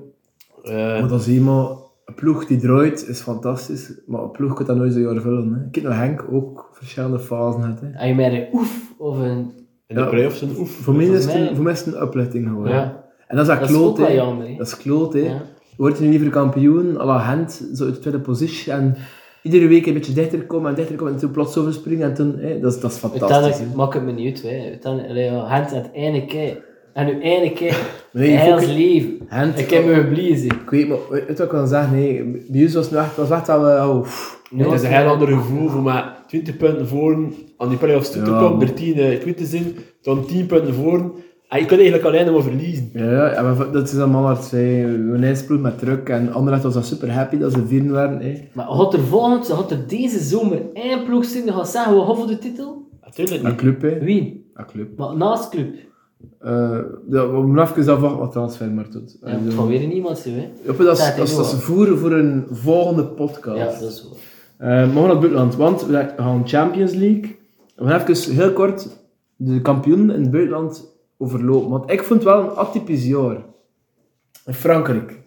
Eh, Maar dat is iemand, een ploeg die draait is fantastisch, maar een ploeg kan dat nooit zo jaar vullen. Hè. Kijk naar Henk, ook verschillende fasen had. Hè. En je merkt een oef of een... in de Ja. play-offs een oef. Voor, mij is het mij- een, voor mij is het een uplichting geworden. Ja. En dat is dat, Dat is kloot, ook wel hè. jammer, hè. Dat is kloot, hè. Ja. Word je nu liever kampioen, à la Gent, zo uit de tweede positie, en iedere week een beetje dichter komen en dichter komen, en toen plots overspringen, en toen... Hè, dat, is, dat is fantastisch, hè. Uiteindelijk maakt het me niet uit. hè. Uiteindelijk, allee, ja, Hent het ene keer. En nu ene keer. Nee, je heel focus- leven. Hent- Ik heb me geblezen. Ik weet, maar weet je wat ik kan zeggen? Nee, bij ons was het nou echt, was echt dat we... oh, pff. Het is een heel ander gevoel voor mij 20 punten voor aan die play-offs toe te Ja, komen, man. er 10 eh, kwijt te zijn, dan 10 punten voor. En Ah, je kunt eigenlijk alleen maar verliezen. Ja, ja, ja, maar dat is allemaal wat zei. Een ijsploeg met druk en Anderlecht was dan super happy dat ze vieren waren. Hè. Maar had er volgend, had er deze zomer één ploeg zitten die gaat zeggen, we gaan voor de titel? Natuurlijk Een niet. club, hè. Wie? Een club. Maar naast club. Eh, dat, we moeten even afwachten wat transfer maar doet. Ja, het Eh, gaat weer niemand zijn, hè. Joppe, dat is, Tijd, dat is, dat is jongen. voer voor een volgende podcast. Ja, dat is zo. Eh, maar we gaan naar het buitenland, want we gaan Champions League. We gaan even heel kort de kampioenen in het buitenland overlopen. Want ik vond het wel een atypisch jaar. In Frankrijk,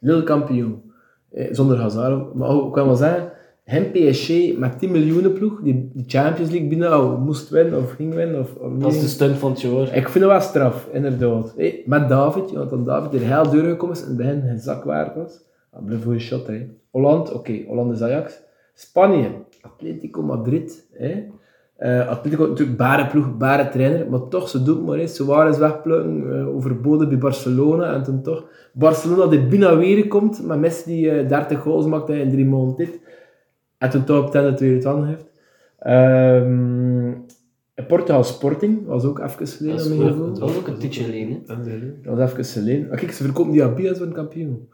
Lille kampioen. Eh, zonder Hazard, maar ook, ik kan wel zeggen, hem PSG met 10 miljoenen ploeg, die de Champions League binnen oh, moest winnen of ging winnen. Of, of Dat is niet. de stunt van het jaar. Ik vind het wel straf, inderdaad. Hé, met David, Jonathan David, die er heel doorgekomen is en begin geen zak waard was. Ah, Dat bleef voor je shot, hè. Holland, oké, Holland is Ajax. Spanje, Atletico Madrid, hè. Eh, Atletico, natuurlijk bare ploeg, bare trainer, maar toch, ze doet het maar eens. Ze waren eens wegplukken, eh, overboden bij Barcelona en toen toch. Barcelona die bijna weer komt, maar Messi die eh, 30 goals maakt hè, in drie maanden dit. En toen toch op 10 het weer het aan heeft. Ehm, en Portugal Sporting was ook even geleden. Dat aan is mijn gevoel. ook, dat was ook een titel alleen, hè. Dat was even geleden. Ah, kijk, ze verkopen die Abia als een kampioen.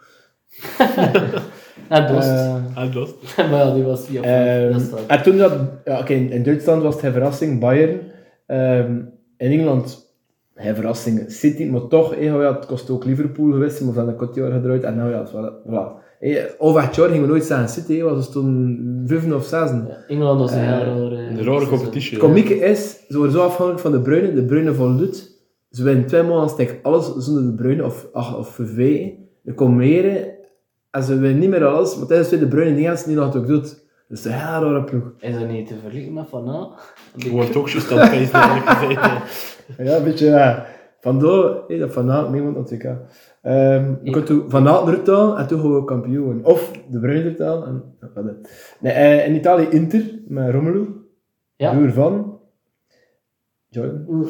En Dost. Eh, En dat? maar ja, die was via ehm, dat is dat. en toen dat... Ja, oké, in Duitsland was het geen verrassing, Bayern. Ehm, in Engeland, geen verrassing, City. Maar toch, eh, oh ja, het kost ook Liverpool geweest. Maar van de Coutinho gedraaid. En nou ja, het is wel- voilà. Eh, over het jaar gingen we nooit zeggen City. eh, was dus toen vijf of zes. Ja, Engeland was een eh, heel raar... eh, Een rare seizoen. competitie. Het komieke is, ze worden zo afhankelijk van de Bruine. De Bruine van Lut. Ze winnen twee maanden stek alles zonder de Bruine of, ach, of VV. Er komt meer en ze winnen niet meer alles. Maar tijdens de Bruine niet eens niet nog wat ook doet. Dus de hele rare ploeg. Is dat niet te vergelijken met Van Gaal? Je wordt ook juist aan het feest eigenlijk gezeten. Ja, een beetje eh, ja. Vandaar hé, eh, dat Van Aert meewoont aan het WK. Ehm, je kunt toen Van Aert eruit halen en toen gaan we kampioen worden. Of de Bruine eruit halen en... ja, wat dan. Nee, eh, in Italië Inter, met Romelu. Ja. Broer van... Jordan.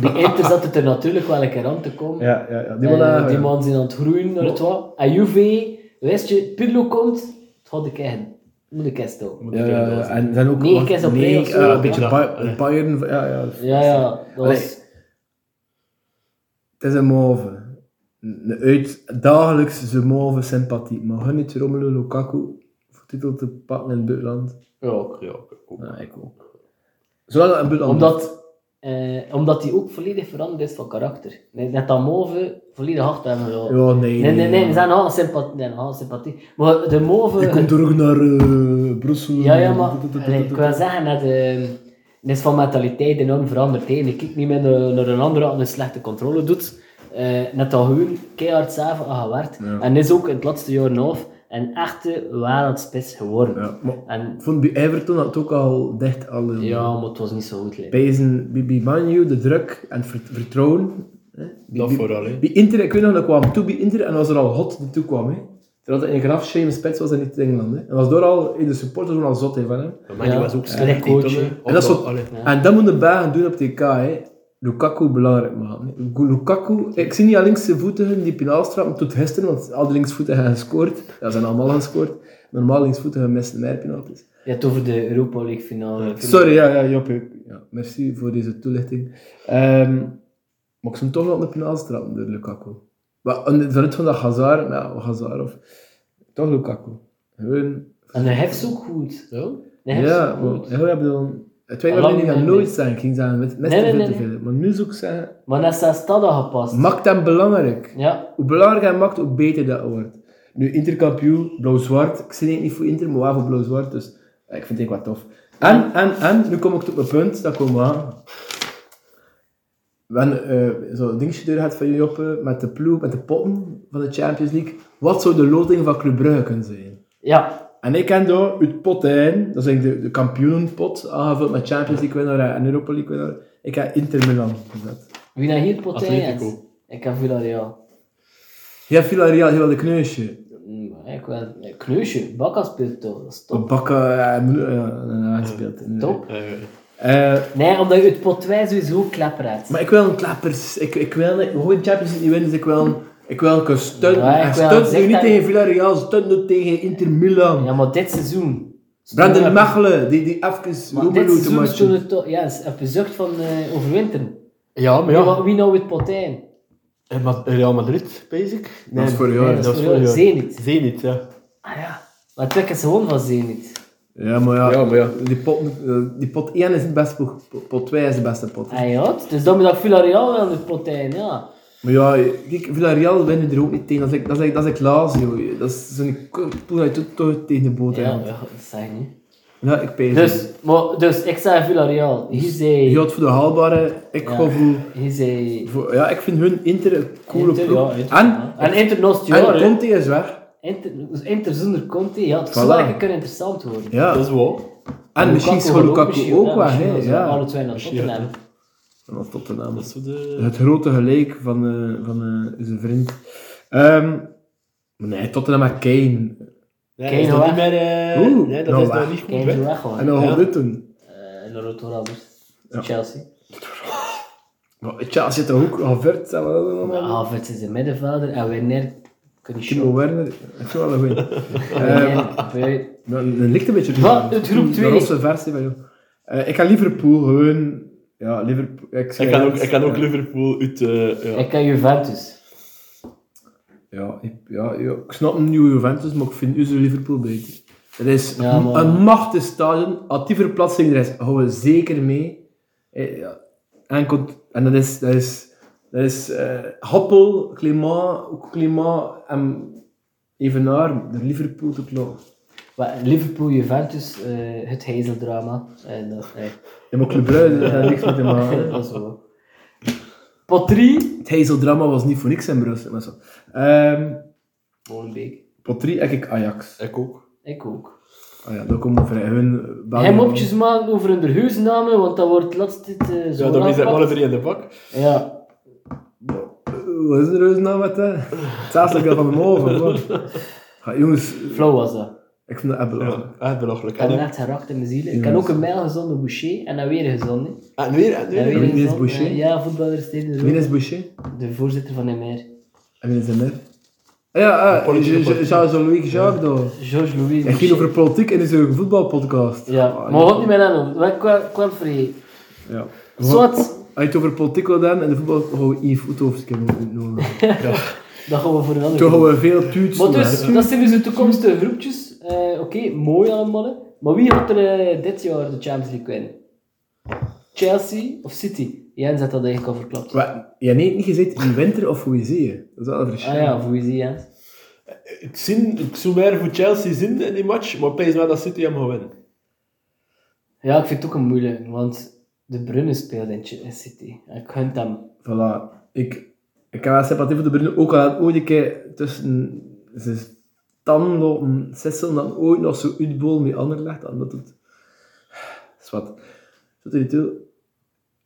Bij Inter zat het er natuurlijk wel een keer aan te komen. Ja, ja, ja. Die man Eh, daar, die ja. man zijn aan het groeien naar het wat. En Juve, wist je, Pirlo komt, het gaat de keigen. Moet ik stil. Ja, ja, ja. en zijn ook Negen keer zo'n nee, play of zo, ja, ja. een beetje Ja. Bay- Allee. Bayern. Ja, ja. Ja, ja, dat Allee. was... Het is een move. Een uit dagelijkse move sympathie. Maar hun niet Romelu Lukaku voor titel te pakken in het buitenland. Ja, ook, ja, ook, ook. Ja, ik ook. Zolang dat in het buitenland Omdat, eh, omdat hij ook volledig veranderd is van karakter. Net, net dat Move volledig hard hebben is. gehouden. Ja, nee. Nee, nee, nee, we zijn al sympathie. Nee, al sympathie. Maar de Move... Die komt terug naar eh Brussel. Ja, ja, maar... allee, ik wil zeggen, net, eh, En is van mentaliteit enorm veranderd. hè. En Ik kijk niet meer naar, naar een ander dat een slechte controle doet. Eh, net al gewoon keihard zelf aan gewerkt. En is ook in het laatste jaar en een half een echte wereldspits geworden. Ja, maar En ik vond bij Everton had het ook al dicht al een- ja, maar het was niet zo goed. hè. bij, zijn, bij, bij Man U de druk en vert- vertrouwen. Hè? Bij- Dat bij- vooral, hè. Bij Inter, ik weet nog, dat kwam toe bij Inter en was er al hot die toe kwam. Hè? Terwijl dat in graf shame spits was in niet Engeland. Hè? En was door al, in de supporters waren al zot hè, van hem. Maar die Ja. was ook Ja. slecht, En die coach, toen, hè. hè. Of dat is wel, ook- allee. En dat moet de Belgen doen op TK. Hè. Lukaku belangrijk maken. hè. Go- Lukaku, ik zie niet aan linksvoetigen die penaalstrappen tot gisteren, want al de linksvoetigen hebben gescoord. Ja, ze zijn allemaal gescoord. Normaal linksvoetigen missen meer penalties. Je hebt het over de Europa League finale. Sorry, ja, ja, Job. ik- Ja, merci voor deze toelichting. Ehm, maar ik zou hem toch wel op de penalty trappen door Lukaku. Maar en vanuit van dat Hazard, ja, Hazard of... Toch Lukaku. Gewoon... En hij heeft ook goed. Ja. Hij heeft ja, ook maar goed. heel heb dan... Het tweede Allang wat ik en- nooit zijn, ik ging zeggen, met met Nee, te nee, veel nee, te veel. Maar nu zou ik zeggen, Maar net zijn stad gepast. maakt hem belangrijk. Ja, Hoe belangrijker hij maakt, hoe beter dat wordt. Nu, interkampioen, blauw-zwart. Ik zie het niet voor Inter, maar wel voor blauw-zwart. Dus eh, ik vind het eigenlijk wel tof. En, en, en, nu kom ik tot mijn punt, dat komen we aan. Wanneer eh zo'n dingetje deur gaat van jullie op eh, met de ploeg, met de potten van de Champions League. Wat zou de loting van Club Brugge kunnen zijn? ja. En ik ken daar uit pot één, dat is eigenlijk de, de kampioenenpot, aangevuld met Champions League winnaar en Europa League winnaar. Ik heb Inter Milan gezet. Wie naar hier Potijn is? Atletico. Ik heb Villarreal. Ja, Villarreal, heel de kneusje. Mm, Ik wel een kneusje. Bakka speelt toch. Dat is top. Bakken, ja, ja, gespeeld. Top. Eh, Eh, Nee, omdat je het Potijn sowieso klepper hebt. maar ik wil een klappers. Ik, ik wil niet- gewoon Champions League niet winnen, dus ik wil een, ik wil een stunt. Ja, ik en wil stunt nu zeggen- niet tegen Villarreal, stunt nu tegen Inter Milan. Ja, maar dit seizoen. Brandon Stonden- Mechelen, die, die even Maar dit Romelu te seizoen stond matchen. het toch... Ja, is op de zucht van eh, overwinteren. Ja, maar Wie, ja. nou- wie nou het Potijn? En Ma- Real Madrid, basic? Dat is vorig jaar. Nee, dat is vorig jaar. Zenit. Zenit, ja. Ah ja. Maar twee keer gewoon van Zenit. Ja, maar ja, Ja, maar ja. Die, pot, eh, die pot 1 is het beste pot, pot- pot 2 is de beste pot. Ah ja, dus dan moet ik Villarreal wel het Potijn, ja. Maar ja, kijk, Villarreal winnen er ook niet tegen. Dat is ik, dat is ik, dat is ik Lazio. Dat is zo'n poel dat je toch- toch tegen de boot Ja, hebt. ja, dat zeg ik niet. Ja, ik pees het. Dus, maar, dus ik zei Villarreal. Hier Je zei... gaat voor de haalbare, ik Ja. ga voor... Hier zei... Voor- Ja, ik vind hun Inter een coole Inter, ploeg. ja, Inter, en, ja. en Inter Nost en Jaren. Conte is weg. Inter, dus Inter zonder Conte, ja, het zou Voilà. eigenlijk kunnen interessant worden. Ja. Dat is wel. en misschien is wordt Lukaku misschien, ook ja, weg. misschien hè. wel zo, Ja. Alle twee naar Misschien, ja. Tottenham. En dat Tottenham. Dat is zo de... Het grote gelijk van, eh van eh, zijn vriend. Ehm, maar nee, Tottenham en Kane. Nee, Kane dat is nog weg. niet meer... eh, Oeh, nee, dat nou is nog weg. niet goed, Kane hè. zou weg hoor. En dan gaan Ja. we dit doen. En dan Rotor Ja. Chelsea. Maar Chelsea zit er ook al ver. stellen we dat Maar allemaal. Havertz is een middenvelder en Werner kan niet Timo eh, shoppen. Werner, ik vind wel een goeie. Werner, Beu- Dat dat ligt een beetje... Wat? Het groep De twee. losse versie van jou. Eh, ik ga Liverpool gewoon... Ja, Liverpool... Ik, Ik zei kan ook, het. ik kan ook Ja. Liverpool uit... eh, ja. Ik kan Juventus. Ja, ik, ja, ja, ik snap een nieuwe Juventus, maar ik vind Uzer Liverpool beter. Het is Ja, maar- een machtig stadion. Als die verplaatsing er is, gaan we zeker mee. Eh, ja. En, komt- en dat is... Dat is, dat is eh, Hoppel, Clément, ook Clément en Evenaar, de Liverpool te kloppen. Maar Liverpool, Juventus, eh, het heizeldrama. En dat, eh, Ja, maar Club Brugge, daar heeft niks mee te maken. dat is wel. Pot 3. Het heizeldrama was niet voor niks in Brussel. Maar zo. Ehm, Molenbeek. pot 3 heb ik Ajax. Ik ook. Ik ook. Ah ja, dat komt over hun... Hij mopjes maken over hun huisnamen, want dat wordt laatst dit eh, zo Ja, dan is aangepakt. er alle drie in de bak. Ja, Wat is er dus nou met dat? Hetzelfde als van de morgen. hoor. Ja, jongens, flauw was dat. ik vind dat echt belachelijk. Ja, echt belachelijk. Ik heb En, echt geraakt in mijn ziel. Ik heb ook een mijl gezonde Boucher en dan weer een gezonde. En eh, en weer, en weer weer. een Wie is gezonde. Boucher? Eh, Ja, voetballer Steven Wie de is Boucher? Roer, de voorzitter van MR. En wie is de net? Ah Ja, ah, Politieke Je- Je- partij. Jean-Louis Jacques daar. Georges Louis. Hij ging Boucher. over politiek in zijn voetbalpodcast. Ja, Ah, maar wat niet meer aan hem. Wat kwam- kwam voor je? Ja. Wat? Zwart, Als je het over politiek wil doen, en de voetbal, Oh, gaan we Yves Oethoofd noemen. dat gaan we voor een andere Toen gaan keer. we veel tuits Maar doen, dus, hè. dat zijn dus de toekomstige groepjes. Eh, Oké, mooi allemaal. hè. Maar wie gaat er eh, dit jaar de Champions League winnen? Chelsea of City? Jens had dat eigenlijk al verklapt. Wat? Ja, nee, niet gezegd in winter of hoe je zie je. Dat is wel een verschil. Ah ja, voor wie zie Jens? Ik, zin, ik zou meer voor Chelsea zin in die match, maar ik denk wel dat City hem gaat winnen. Ja, ik vind het ook een moeilijk, want De Bruyne speelde in Ch- in City. Ik gun hem. Voilà. Ik, ik heb wel sympathie voor de Bruyne. Ook al had ooit een keer tussen zijn tanden lopen sisselen, dan ooit nog zo uitbol met Anderlecht. En dat doet... Zwat. Zit er niet toe.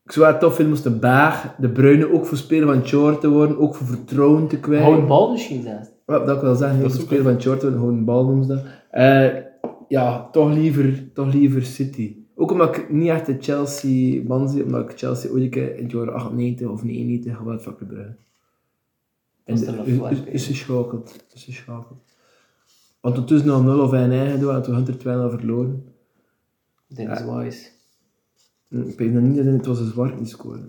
Ik zou het tof vinden moest de Baag, de Bruyne, ook voor speler van het jaar te worden, ook voor vertrouwen te kwijt. Houden bal misschien zelfs. Wat dat ik wil zeggen, heel Dat is veel ook spelen van Shorten, gewoon een bal noemen ze dat. Eh, ja, toch liever, toch liever City. Ook omdat ik niet echt de Chelsea-man zie, omdat ik Chelsea ooit een keer in het jaar 98 of 99 geweld van Club Brugge. En Dat is dan een de- is- flank, is hè? geschakeld. Is geschakeld. Want ondertussen nog 0 of 1 eigen doen, en toen had er 2 al verloren. Dat is wise. Hm, Ik weet nog niet dat het was een zwart die scoorde.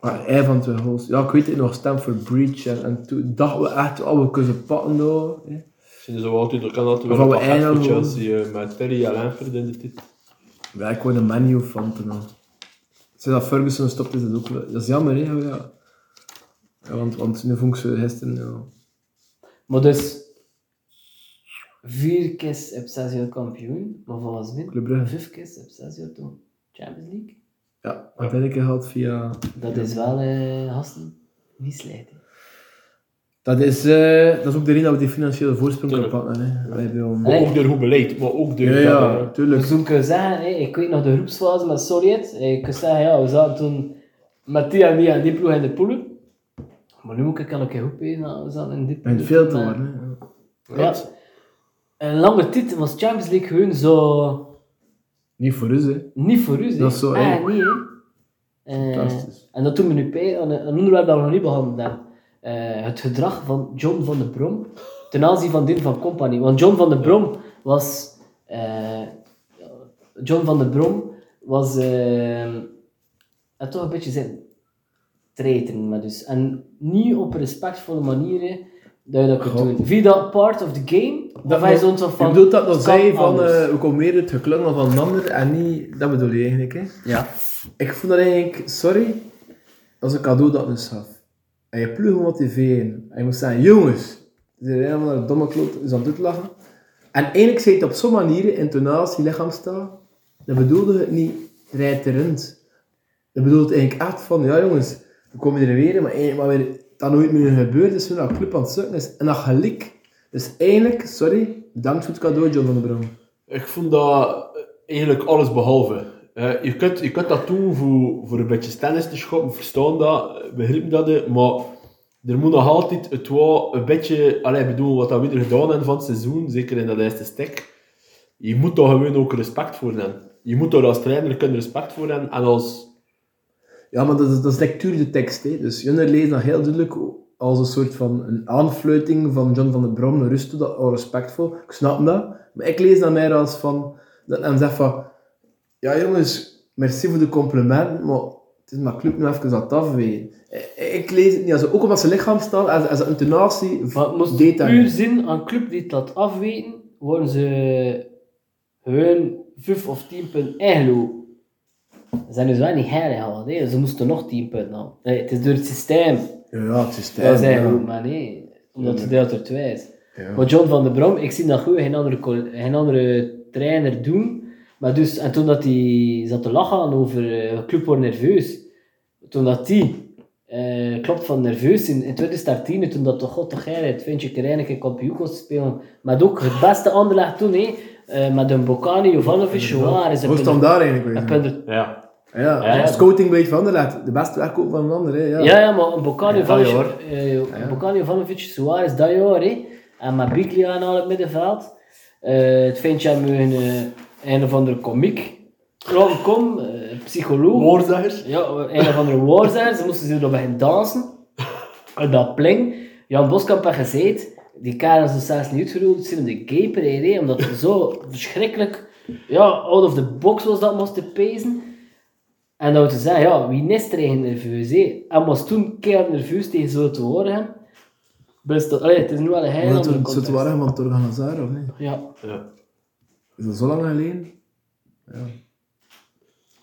Maar hij van twee goals. Ja, ik weet het nog, Stamford Breach. En, en toen dachten we echt, oh, we kunnen ze pakken daar. hè. Misschien is dat wel altijd, er kan altijd Van wel een we pakket voor eiland gewoon. Chelsea eh, met Terry Alainford in de titel. Ja, ik word een menu fan toen al. Sinds dat Ferguson stopt is dat ook wel- Dat is jammer, hè? Ja. Ja, want, want nu vond ik ze gisteren... Ja. Maar dus, vier keer op zes jaar kampioen, maar volgens mij Club Brugge. vijf keer op zes jaar toen Champions League. Ja, wat heb ik gehad via... Dat is wel, eh gasten, niet slijten. Dat is, eh, dat is ook de reden dat we die financiële voorsprong kunnen Tuurlijk. pakken, hè? Wij hebben Maar al- Nee. ook door goed beleid, maar ook door... Ja, dat, ja, eh, tuurlijk. Dus toen kun je zeggen, hé, ik weet nog de groepsfase met Sovjet. Ik kan zeggen, ja, we zaten toen met die en die en die ploeg in de poelen. Maar nu moet ik al een keer goed weten, nou, we zaten in die En ploeg. het veel te Maar- worden, hè. ja. Ja. Een lange titel was Champions League gewoon zo Niet voor ons, hè. niet voor u. Dat is zo, hè. Ah, nee, hè. Eh, Fantastisch. en dat doet me nu pijn aan een een onderwerp dat we nog niet behandeld hebben. Eh, het gedrag van John van de Brom ten aanzien van Din van Company. Want John van de Brom was... eh, John van de Brom was... eh, had toch een beetje zijn treiten maar dus. En niet op respectvolle manieren dat je dat kunt Goh. doen. Vind je dat part of the game? Dat of hij moet- zo'n soort Ik van... bedoel dat dat het kan zij van, anders? eh we komen weer het geklungel van een ander en niet... Dat bedoel je eigenlijk, hè? Ja. Ik vond dat eigenlijk, sorry, als een cadeau dat dus gaf. En je ploeg motiveren. En je moet zeggen, jongens, ze zijn helemaal een domme kloot, is aan het lachen. En eigenlijk zei het op zo'n manier, intonatie, lichaamstaal, dat bedoelde het niet rijterend. Dat bedoelt eigenlijk echt van, ja jongens, we komen er weer, in, maar eigenlijk maar weer, dat nooit meer gebeurt, dus is toen dat club aan het sukken is. En dat gelijk. Dus eigenlijk, sorry, bedankt voor het cadeau, John van der Brom. Ik vond dat eh, eigenlijk alles behalve. Eh, je, kunt, je kunt dat doen voor, voor een beetje stennis te schoppen, verstaan dat, eh, begrijpen dat, eh, maar er moet nog altijd het wel een beetje, allee, ik bedoel, wat dat we er gedaan hebben van het seizoen, zeker in dat eerste stek, je moet daar gewoon ook respect voor hebben. Je moet daar als trainer kunnen respect voor hebben en als Ja, maar dat is, dat is lectuur de tekst. Hè. Dus Junner leest dat heel duidelijk als een soort van een aanfluiting van John van den Brom, een rust, dat al respectvol. Ik snap dat. Maar ik lees dat meer als van, dat hem zegt van, ja jongens, merci voor de complimenten, maar het is mijn club nu even aan het afwegen. Ik, ik lees het niet als, ook omdat zijn lichaamstaal en zijn- en zijn intonatie Maar het moest deed dat puur niet. zin aan club die het laat afweten, worden ze hun 5 of 10 punten eigenlijk. Ze zijn dus wel niet heilig al, nee. ze moesten nog 10 punten halen. Nee, het is door het systeem. Ja, het is dat zijn ja. goed, maar nee, omdat het deelt er twee is. Ja. Maar John van de Brom, ik zie dat goed, geen andere, col- geen andere trainer doen. Maar dus, en toen dat hij zat te lachen over eh club wordt nerveus, toen dat die eh, klopt van nerveus in, in 2013, toen dat toch god toch het Vintje Kerijneke kampioen kon spelen. Maar ook het beste Anderlecht toen, hé, eh, met een Bokani, Jovanovic, Joar, is Hoe is het dan daar eigenlijk weer? een Ja. Ja, Ja, ja. scouting weet van Anderlecht. De beste wegkoop van een ander. Hè. Ja. Ja, ja, maar een Bokani Ja, dat Ivanovic, jaar. eh, een Bokani Ivanovic, Suarez, dat jaar, hè. En met Biglia en al het middenveld. Eh, het ventje hem een, eh, een of andere komiek. Gewoon kom, eh, psycholoog. Oorzakkers. Ja, een of andere war zijn. Ze moesten ze erbij gaan dansen. En dat pling. Jan Boskamp had gezegd, die karel is zelfs niet uitgerold, ze hebben de gaper reden, omdat het zo verschrikkelijk, ja, out of the box was dat moesten pezen. En dan te zeggen, ja, wie is er eigenlijk nerveus, hè? En was toen keihard nerveus tegen zo te horen hem. Best, dat- allee, het is nu wel een heel Omdat andere het zo context. te waren van Torgan Hazard, of niet? Ja. Ja. Is dat zo lang geleden?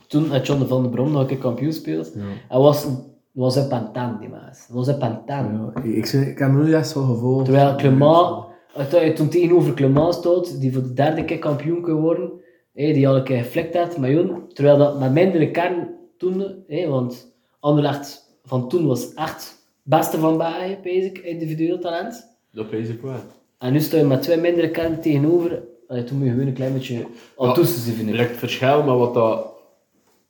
toen had John van den Brom nog een keer kampioen speelt. Hij was, was een pantan, die maas. Hij was een pantan. Ja, ik, ik, zeg- ik heb me nu echt zo gevolgd. Terwijl Clement, eh, toen je toen tegenover Clement stond, die voor de derde keer kampioen kan worden, Hé, die al een keer geflikt had met Jon. Terwijl dat met mindere kern toen, hé, want Anderlecht van toen was echt beste van België, basic, individueel talent. Dat is ik wel. En nu sta je met twee mindere kernen tegenover. Allee, toen moet je gewoon een klein beetje al toesten ze vinden. Er ligt verschil, maar wat dat,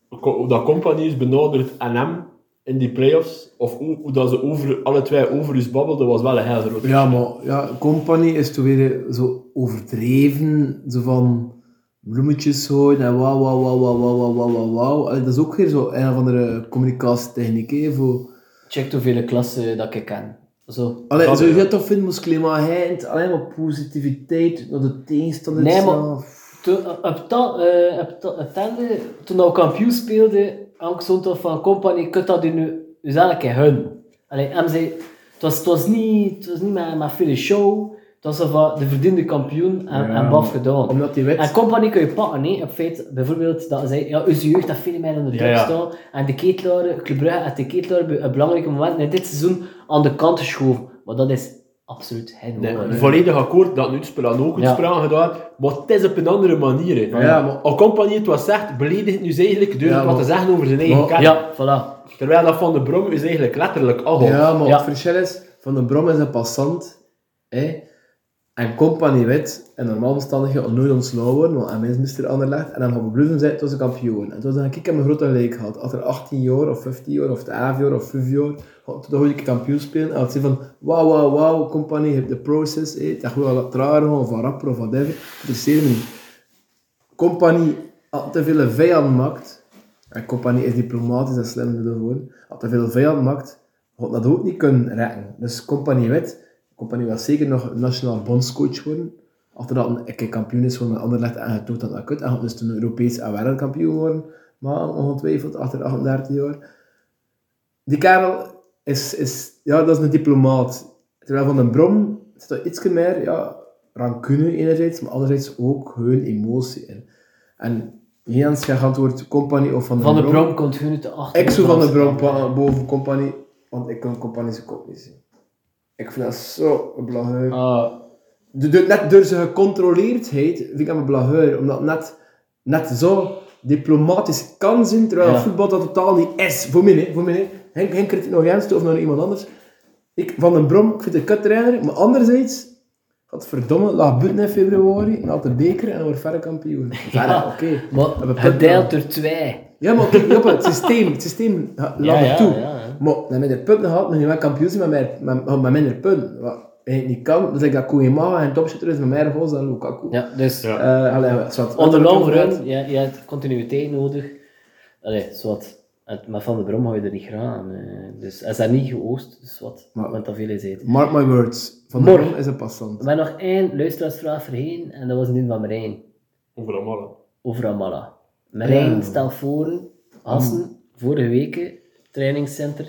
hoe dat compagnie is benaderd aan hem in die playoffs, of hoe, hoe dat ze over, alle twee over ons babbelden, was wel een heel groot. Ja, maar ja, Company is toen weer eh, zo overdreven. Zo van bloemetjes gooien en wauw, wauw, wauw, wauw, wauw, wauw, wauw, wauw, wauw. Allee, Dat is ook weer zo een of andere communicatietechniek. Hè, voor... Check hoeveel klassen dat ik ken. Zo. Allee, Dat zo ja. je toch vindt, moest Clément Heint alleen maar positiviteit naar de tegenstander Nee, maar- slaan. Toen, op, het al- eh, op, het al- op het einde, toen we kampioen speelden, had ik zo'n tof van Company, kunt dat nu zelf in hun. Allee, hem zei, het was, het was niet, het was niet met, met veel show, het was zo van de verdiende kampioen en, Ja, en baf maar- gedaan. Omdat die wet... En compagnie kun je pakken, hè. Op feit, bijvoorbeeld, dat zij, ja, onze jeugd dat veel meer onder druk Ja, ja. staan. En de ketelaren, Club Brugge heeft de ketelaren bij een belangrijke moment in dit seizoen aan de kant geschoven. Maar dat is absoluut geen Nee, mogelijk. volledig akkoord dat nu het spel aan ook het Ja. spel aan gedaan, maar het is op een andere manier. hè. Ja, maar- Al compagnie het wat zegt, beledigt nu eigenlijk door Ja, het wat te maar- zeggen over zijn eigen Maar- kern. Ja, voilà. Terwijl dat van de Brom is eigenlijk letterlijk al. Ja, maar Ja. het verschil is, Van de Brom is een passant. Hè? En Company wit. En normaal omstandigheden nooit ontslagen worden, want hij is Mr. Anderlecht. En dan gaan we bluffen zijn, het was een kampioen. En toen dacht ik, ik heb een grote gelijk gehad. Als er 18 jaar, of 15 jaar, of 11 jaar, of 5 jaar, had- dan wil ik kampioen spelen. En dan zei van, wauw, wauw, wauw, Company, je hebt de process. Hè? Het is gewoon wel wat trager, of wat rapper, of whatever. Interesseer me niet. Company had te veel vijand maakt. En Company is diplomatisch en slim daarvoor. Had te veel vijand maakt had dat ook niet kunnen rekken. Dus Compagnie Wit, Compagnie was zeker nog nationaal bondscoach worden. Achter dat een keer kampioen is van een ander legt en getoond dat dat kut. En had dus toen Europees en wereldkampioen worden. Maar ongetwijfeld, achter 38 jaar. Die kerel is, is, ja, dat is een diplomaat. Terwijl Van den Brom zit er iets meer, ja, rancune enerzijds, maar anderzijds ook hun emotie in. En Jens gaat antwoord Compagnie of Van den Van de Brom. Brom komt gewoon uit de achter. Ik zou van de Brom pa- boven Compagnie, want ik kan Compagnie zijn kop niet zien. Ik vind dat zo een blageur. Ah. De- de- net door zijn gecontroleerdheid vind ik hem een blageur, omdat het net, net zo diplomatisch kan zijn, terwijl Ja. het voetbal dat totaal niet is. Voor mij, hè, voor mij. hè. Henk, Henk kritiek nog Jens toe of naar iemand anders. Ik, van den Brom, ik vind het een kuttrainer, maar anderzijds, had verdomme, lag buiten in februari, en had de beker en wordt verre kampioen. Verre, Ja. oké. Hebben we Maar punten. gedeeld door twee. Ja, maar kijk, Joppe, het systeem, het systeem ja, laat Ja, het ja, toe. ja, hè. Maar met minder punten had men nu wel kampioen zijn met, meer- met, met minder punten. Wat hij niet kan, dus ik dat Koema en topschutter is met meer goals dan Lukaku. Ja, dus Ja. Eh, allee, zwart. on the long run, je, je hebt continuïteit nodig. Allee, zwart. En- Maar van de Brom hou je er niet graag aan. eh. Dus hij is daar niet geoost, dus wat. Maar- Want dat veel is eten. Mark my words, Van de Morgen. Brom is een passant. We hebben nog één luisteraarsvraag voorheen, en dat was Nien van Marijn, Overal mannen. over Amala. Marijn, Ja. stel voor, Hassen, vorige week, trainingscenter,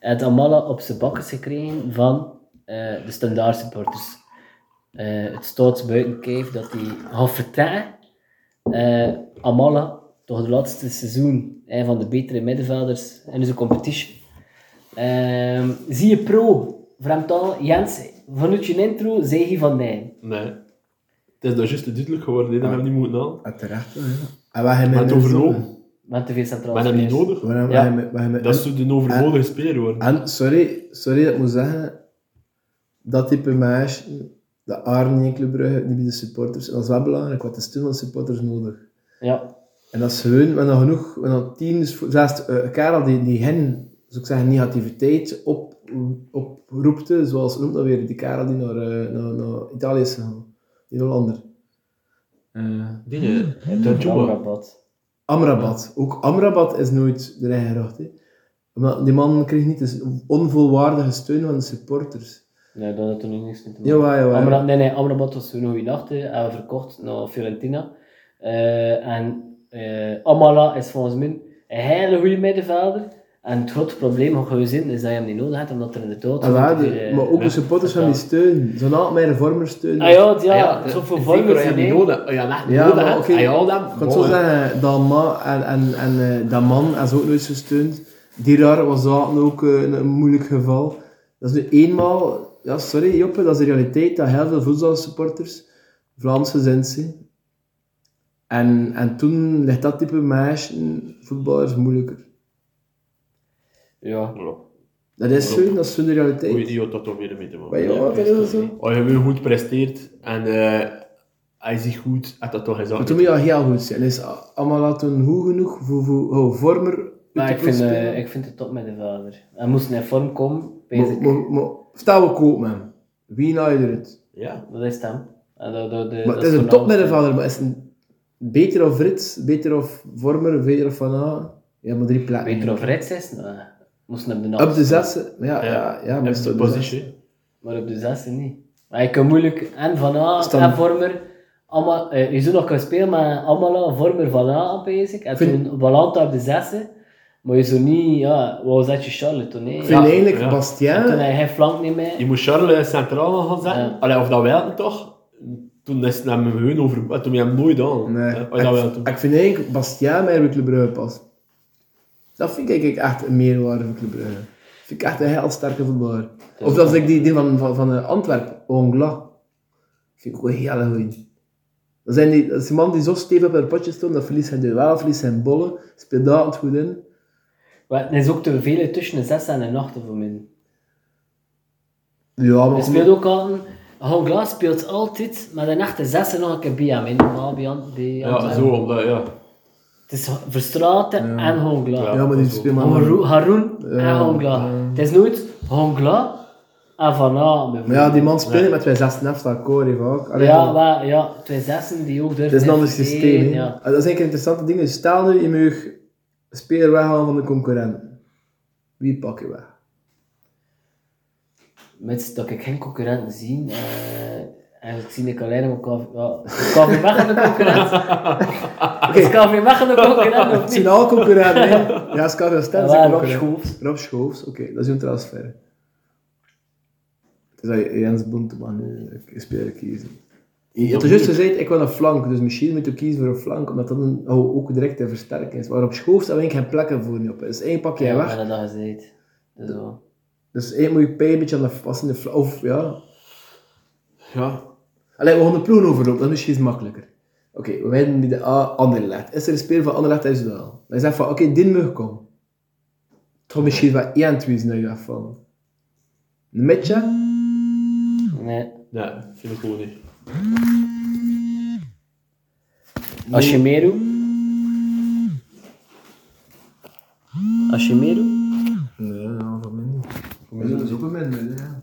heeft Amala op zijn bakkes gekregen van eh, de standaard supporters. Eh, het staat buiten kijf dat hij gaat vertrekken. Eh, Amala, toch het laatste seizoen, een van de betere middenvelders in onze competition. Ehm, zie je pro, Vramtal, Jens, vanuit je intro zei hij van nee. Nee. Het is daar juist te duidelijk geworden, hè, dat we hem niet moeten aan. En terecht. wel, ja. En waar hij Maar het Ah, met overlopen. Met te veel centrale Maar dat niet spelers. nodig. Waar hij- waar Ja. hij met- waar hij met- Dat zou de overbodige speler worden. En sorry, sorry dat ik moet zeggen, dat type meisje, de Arnie in Club Brugge, die bij de supporters, dat is wel belangrijk, wat is toen van supporters nodig? Ja, En dat is gewoon, we hebben genoeg, we hebben tien, dus voor- zelfs eh, Karel die, die hen, zou ik zeggen, negativiteit op, oproepte, zoals noemt dat weer, die Karel die naar, eh, naar, naar Italië is gegaan, die Hollander. Eh, Dingen. Dat dat jongen. rabat. Amrabat, ook Amrabat is nooit erin geraakt. hè. Omdat die man kreeg niet de onvolwaardige steun van de supporters. Nee, dat had er nu niks mee te maken. Jawel, jawel. Amrabat, nee, nee, Amrabat was een goede nacht. hè. Hij was verkocht naar Fiorentina. Eh, en eh, Amala is volgens mij een hele goede middenvelder. En het grote probleem, wat je zin, is dat je hem niet nodig hebt, omdat er in de dood... En waar, die- eh, maar ook Ah, de supporters gaan die steun. Zo'n altijd mijn vormer steun. Ah ja, ja, Ah ja zo voor vormen zeker, zijn, hij hè. niet nodig. Ja, echt Ja, nodig. maar hè. oké. Ah, Hij haalt hem. Ik kan het zo zeggen, Dalma en, en, en eh, dat man is ook nooit gesteund. Dirar was dat ook eh, een, een moeilijk geval. Dat is nu eenmaal, ja sorry Joppe, dat is de realiteit dat heel veel voetbalsupporters Vlaamse zijn. zijn. En, en toen ligt dat type meisje, voetballers, moeilijker. Ja. Dat is zo, dat is zo de Hoe realiteit. idioot dat toch weer mee te maken. Maar ja, dat is zo. Als Oh, je weer goed presteert en eh hij zich goed, had dat toch eens Maar toen moet je al heel goed zijn. Is allemaal laten goed genoeg voor, voor, voor vormer uit Maar te ik vind, spelen. eh ik vind het top met de vader. Hij moest in vorm komen, weet Maar- ik. maar- maar Stel we kopen hem. Wie naaide het? Ja. Dat is hem. En dat, dat, dat, Maar dat het is een voornaam- topmiddenvelder, maar is een beter of Rits, beter of Vormer, beter of Van A. Je hebt maar drie plekken. Weet je of Reds is? Nee. Moesten op de naam. Op de zes, maar ja, Ja. ja, ja, En maar is de het op de zes. positie. Maar op de zesde niet. Maar je kan moeilijk en Van A Stam. en Vormer. Allemaal, eh, je zou nog kunnen spelen met Amala, Vormer, Van A bezig. En Vind- toen Balanta op de zesde. Maar je zou niet, ja, wat was dat je Charlotte toen? hè? Ik Ja. vind eigenlijk ja. En toen Bastien, hij geen flank niet meer. Je moet Charles eh, centraal gaan zetten. Ja. Allee, of dat wel toch? Toen is het naar mijn heun over. maar Toen heb je hem nooit aan. nee. Ja, als je Oh, dat wel eh, ik, doet. ik vind eigenlijk Bastien bij Club Brugge past. Dat vind ik eigenlijk echt een meerwaarde voor Club Brugge. Vind ik echt een heel sterke voetballer. Of dat ik die, die van, van, van eh, Antwerpen, Ongla. Vind ik ook een hele goeie. Dat, zijn die, dat is die man die zo stevig op haar potjes stond, dat verliest zijn duel, verliest zijn bollen, speelt daar het goed in. Maar er is ook te veel tussen de zesde en de nachten voor mij. Ja, maar Hij speelt ook al. Hongla speelt altijd, maar de nacht de zesde nog een keer bij hem in. Normaal bij Ant- bij Ja, Antwerpen. zo. Omdat, ja. Het is Verstraten en Hongla. Ja. Ja, maar die speelt maar... Haroon Haroun en Ja, eh, Hongla. Het is nooit Hongla en Van A. mijn Maar ja, die man speelt niet met twee zesde helft, dat Corey ook. Allee, ja, maar, ja, twee zessen die ook durven. het is een ander investeren, systeem. hè. Ah, Ja. Dat is eigenlijk een interessante ding. Dus stel nu, je mag een speler weghalen van de concurrenten. Wie pak je weg? Mits dat ik geen concurrenten zie. eh eigenlijk zie ik alleen nog KV. Ja, KV Mechelen de concurrent. Is KV Mechelen de concurrent Het of zijn niet? al concurrenten, hè? Ja, Scarlett Stens is Ja, een Rob concurrent. Schoofs. Rob Schoofs, oké, dat is een transfer. Het is dat Jens Bonteman nu een speler kiezen. Je hebt er juist gezegd, ik wil een flank, dus misschien moet je kiezen voor een flank, omdat dat een, oh, ook direct een versterking is. Maar op Schoofs heb ik geen plekken voor nu op. Dus één pak jij Ja, weg. ik heb dat gezegd. Dus wel. Dus één moet je pijn een beetje aan de passende flank. Of ja. ja. Alleen we gaan de ploen overlopen, dat is misschien makkelijker. Oké, we wijden die de A Anderlecht. Is er een speler van Anderlecht dat is dat al? Dan zegt van, oké, dit mag komen. Toch misschien wel één twee naar je afvallen. Een matje? Nee. Nee, vind ik gewoon niet. Als je meer doet. Als je meer doet. Nee, ja, voor mij niet. Voor mij is het ook een minder, ja.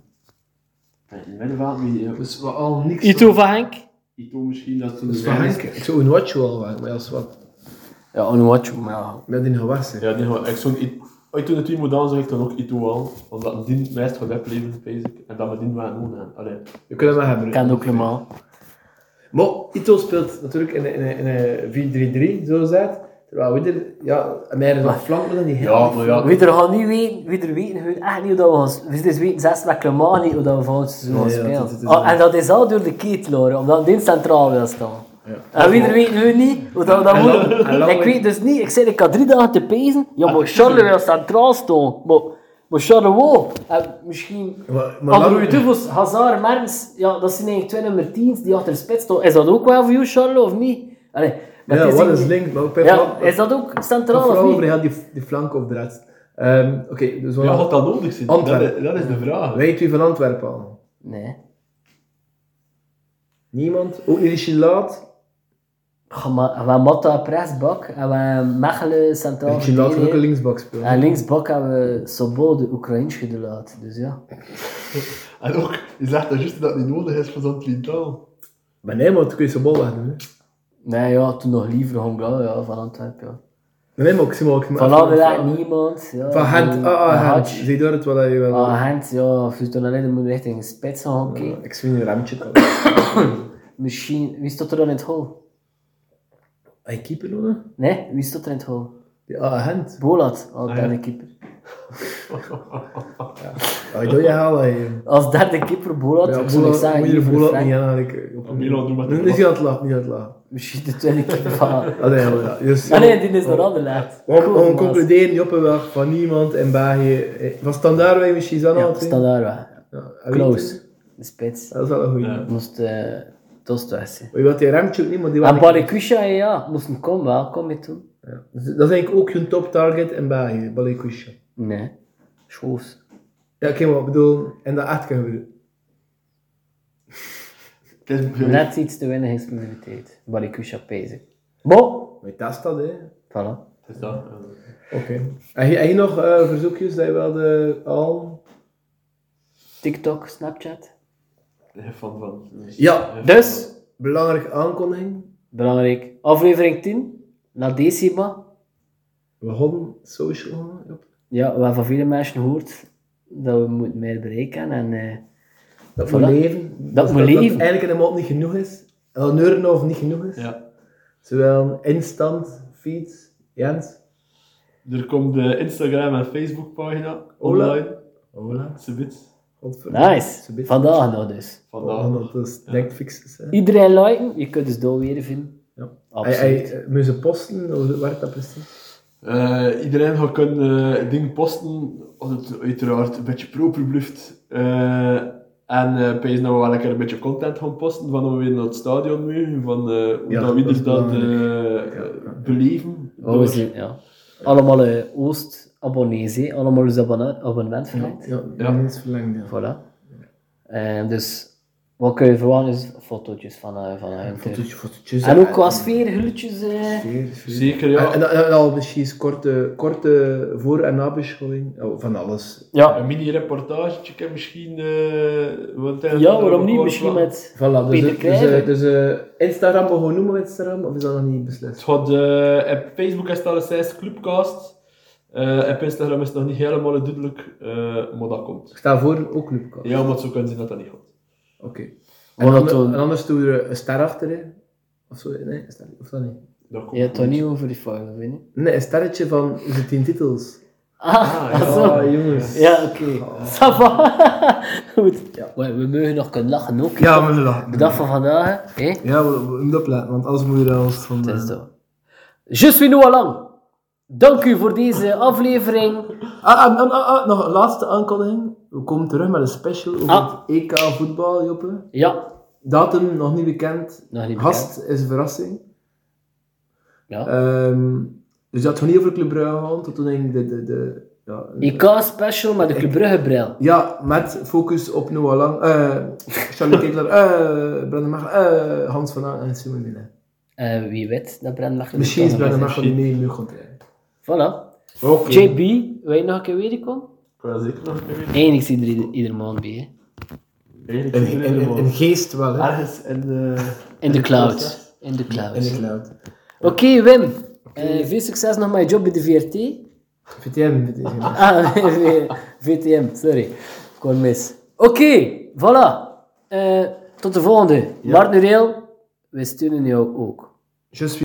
Middenveld niet. Dus we al niks... Ito van Henk? eh, Ito misschien dat toen Dus van Henk, ik zou een watch wel maken, maar als wat... Ja, een watch, maar Met een gewassen. Ja, die gaan, ik zo'n Ito- Ooit toen het team moet aan, zeg ik dan ook Ito aan. Omdat die het meest gaat wegblijven, basic. En dat we die wel doen gaan. Allee. Je kunt hem maar hebben. kan ook helemaal. Maar Ito speelt natuurlijk in een, in een, in een 4-3-3, zo gezegd. Terwijl we er... Ja, en mij is nog flank dan die Ja, maar ja. Wie er gaat niet weten, wie er weten, weet echt niet hoe dat we gaan spelen. Dus weten zelfs met Clement niet hoe dat we volgend seizoen gaan Nee, ja, spelen. dat- dat is Ah, en dat is al door de ketelaar, omdat die centraal wil staan. En wie er weet nu niet hoe dat we dat en moeten. lang- Ik weet dus niet, ik zei ik had drie dagen te pezen. Ja, Ah. maar Charles wil centraal staan. Maar, maar Charles wou. En misschien... Maar, maar Andere lang- Duvels, Hazard, Mertens, ja, dat zijn eigenlijk twee nummer 10's die achter de spits staan. Is dat ook wel voor jou, Charles, of niet? Allee, maar het Ja, is wat eigenlijk- is link? Maar bij Ja, Vlaanderen- is dat ook centraal vooral of over niet? heel die, die flank op de rest. Ehm, Oké, dus we Ja, gaat dat nodig zijn? Dat, Antwerpen. is- dat is de vraag. wij twee van Antwerpen al. Nee. Niemand? Ook niet Richie Laat? Goh, maar we Matta pressbak en we Mechelen centraal Richie Laat gaat ook een verdediger. linksbak spelen. En linksbak hebben we Sobol, de Oekraïns gedelaat. Dus ja. En ook, je zegt dat juist dat het niet nodig is voor zo'n drietal. Maar nee, maar toen kun je zijn bal wegdoen. hè. Nee, ja, toen nog liever Hongra, ja, van Antwerpen. Ja. Maar nee, maar ik zie maar ook... dus- maar- Van Albe daar niemand. Ja, Van Gent, ah, ah, Gent. Hatch. Zie door het wat je wil. Ah, Gent, ja. Of je toen alleen moet richting een spits gaan oké. Ja, ik zie een remtje toch. Misschien, wie stond er dan in het hol? Hij keeper nodig? Nee, wie stond er in het hol? Die agent. Bolat, als Ah, ja. derde keeper. Hij doe Ah, je haal hij. Als derde keeper Bolat, Ja, ik zou Boela- ik zeggen, moet je er liever Boela Frank. niet aan eigenlijk. eh, Op Milan doet maar Nu de nu is hij aan het lachen, niet aan het lachen. Misschien de tweede keeper van... Allee, ja. Dus, Ah nee, die is nog aan de laat. We Cool, cool, maat. concluderen niet op een weg van niemand in België. Eh, Van standaard wij misschien zo Ja, standaard wel. Ja, en wie Close. het? De spits. Dat is wel een goeie. Ja. Moest eh, Dat is het beste. Maar je wilt die Remtje ook niet, maar die En waren- Balikusha, eh, ja, moesten komen wel, kom je toe. Dat is eigenlijk ook hun top target in België, Balikwisha. Nee, schoos. Ja, oké, maar ik bedoel, in de echt kunnen we doen. Het is- Net iets te weinig exclusiviteit. Balikusha pezen. Bo! Maar je test dat, hè. Voilà. het is dat. Oké. Heb je- Heb je nog eh, verzoekjes dat je wilde al? TikTok, Snapchat. Ja, Van, van. Ja, Dus, belangrijke aankondiging. belangrijk. Aflevering 10, La Decima. We hadden social. ja. Ja, we hebben van vele mensen gehoord dat we moeten meer bereiken. En eh, Dat Voilà. we leven. Dus we leven. Dat eigenlijk in een maand niet genoeg is. Dat een uur en een half niet genoeg is. Ja. Zowel instant, feeds, Jens. Er komt de Instagram en Facebook pagina Hola. online. Hola. Subit. Godverdomme. Ze nice. best- Vandaag nog dus. Vandaag. Oh, dat is denk ik fix. is, hè. Iedereen liken, je kunt dus doorweer vinden. Ja. Hij, Absoluut. hij, eh, moet ze posten, of werkt dat precies? Eh, iedereen gaat kunnen eh, dingen posten, als het uiteraard een beetje proper blijft. Eh, en eh pees nou wel lekker een beetje content gaan posten, van hoe we weer naar het stadion mogen, van eh, hoe Ja, dat we dat is dat, dat belangrijk. eh, Ja. beleven. Dus Oh, we zijn, ja. Allemaal eh, Oost-abonnees, hè. allemaal ons abonne abonnement verlengd. Ja, Ja. dat is verlengd. Ja. Voilà. En dus, wat kun je verwachten is fotootjes van, eh van hun. Fotootje, fotootjes. en ja, ook qua sfeer, glutjes. eh. Sfeer, sfeer. Zeker, En, ja. en, en al precies korte, korte voor- en nabeschouwing. Oh, van alles. Ja. Een mini-reportage misschien. eh, want hij- ja, waarom niet? Wat- Misschien met... Voilà, dus, Peter eh, dus, Krijger. eh, dus eh, Instagram, we gewoon noemen we Instagram, of is dat nog niet beslist? Het gaat, eh, op Facebook is het al een zes Clubcast. Eh, op Instagram is het nog niet helemaal duidelijk, eh, maar dat komt. Ik sta voor ook Clubcast. Ja, maar het zou kunnen zijn dat dat niet gaat. Oké. En, Wat dat ander- doen? en anders doe je er een ster achter, hè? Of zo, nee, een ster, of dat niet? Dat komt Je hebt toch goed. niet over die file, weet je? Nee, een sterretje van de tien titels. Ah, ja. ah, zo. jongens. Ja, oké. Ça va. Goed. We, we mogen nog kunnen lachen ook. Ja, we moeten lachen. De dag van vandaag, hè. Ja, we, we moeten opletten, want als moet je er als van... Het is zo. Je suis Noah Lang. Dank u voor deze aflevering. Ah, ah, ah, ah, ah, nog een laatste aankondiging. We komen terug met een special over Ah. het EK voetbal, Joppe. Ja, Datum nog niet bekend. nog niet bekend. Gast is een verrassing. Ja. Ehm, dus dat gaat niet over Club Brugge gaan, tot toen ik de... de, de ja, een- IK special met de Club Brugge bril. ja, met focus op Noah Lang, eh, Charlie Kegler, eh, Brendan Mechelen, eh, Hans van Aan en Simon Mille. Eh, wie weet, dat Brand mag Misschien is Brendan Mechelen mee nu gaan trainen. Voilà. Oké. JB, wil je nog een keer weer komen? Ik wil dat zeker nog een keer weten. Eén, ik zie er ieder, ieder maand bij. Hè. Eigenlijk In, zit in, er helemaal in, in geest wel, hè. Ergens in de... In de cloud. In In de de cloud. cloud. Oké, Wim. Eh, veel succes nog met je job bij de VRT. VTM, VTM. Ah, VTM, sorry. Ik kon mis. Oké, voilà. Eh, tot de volgende. Bart Nureel, wij steunen jou ook. Je suis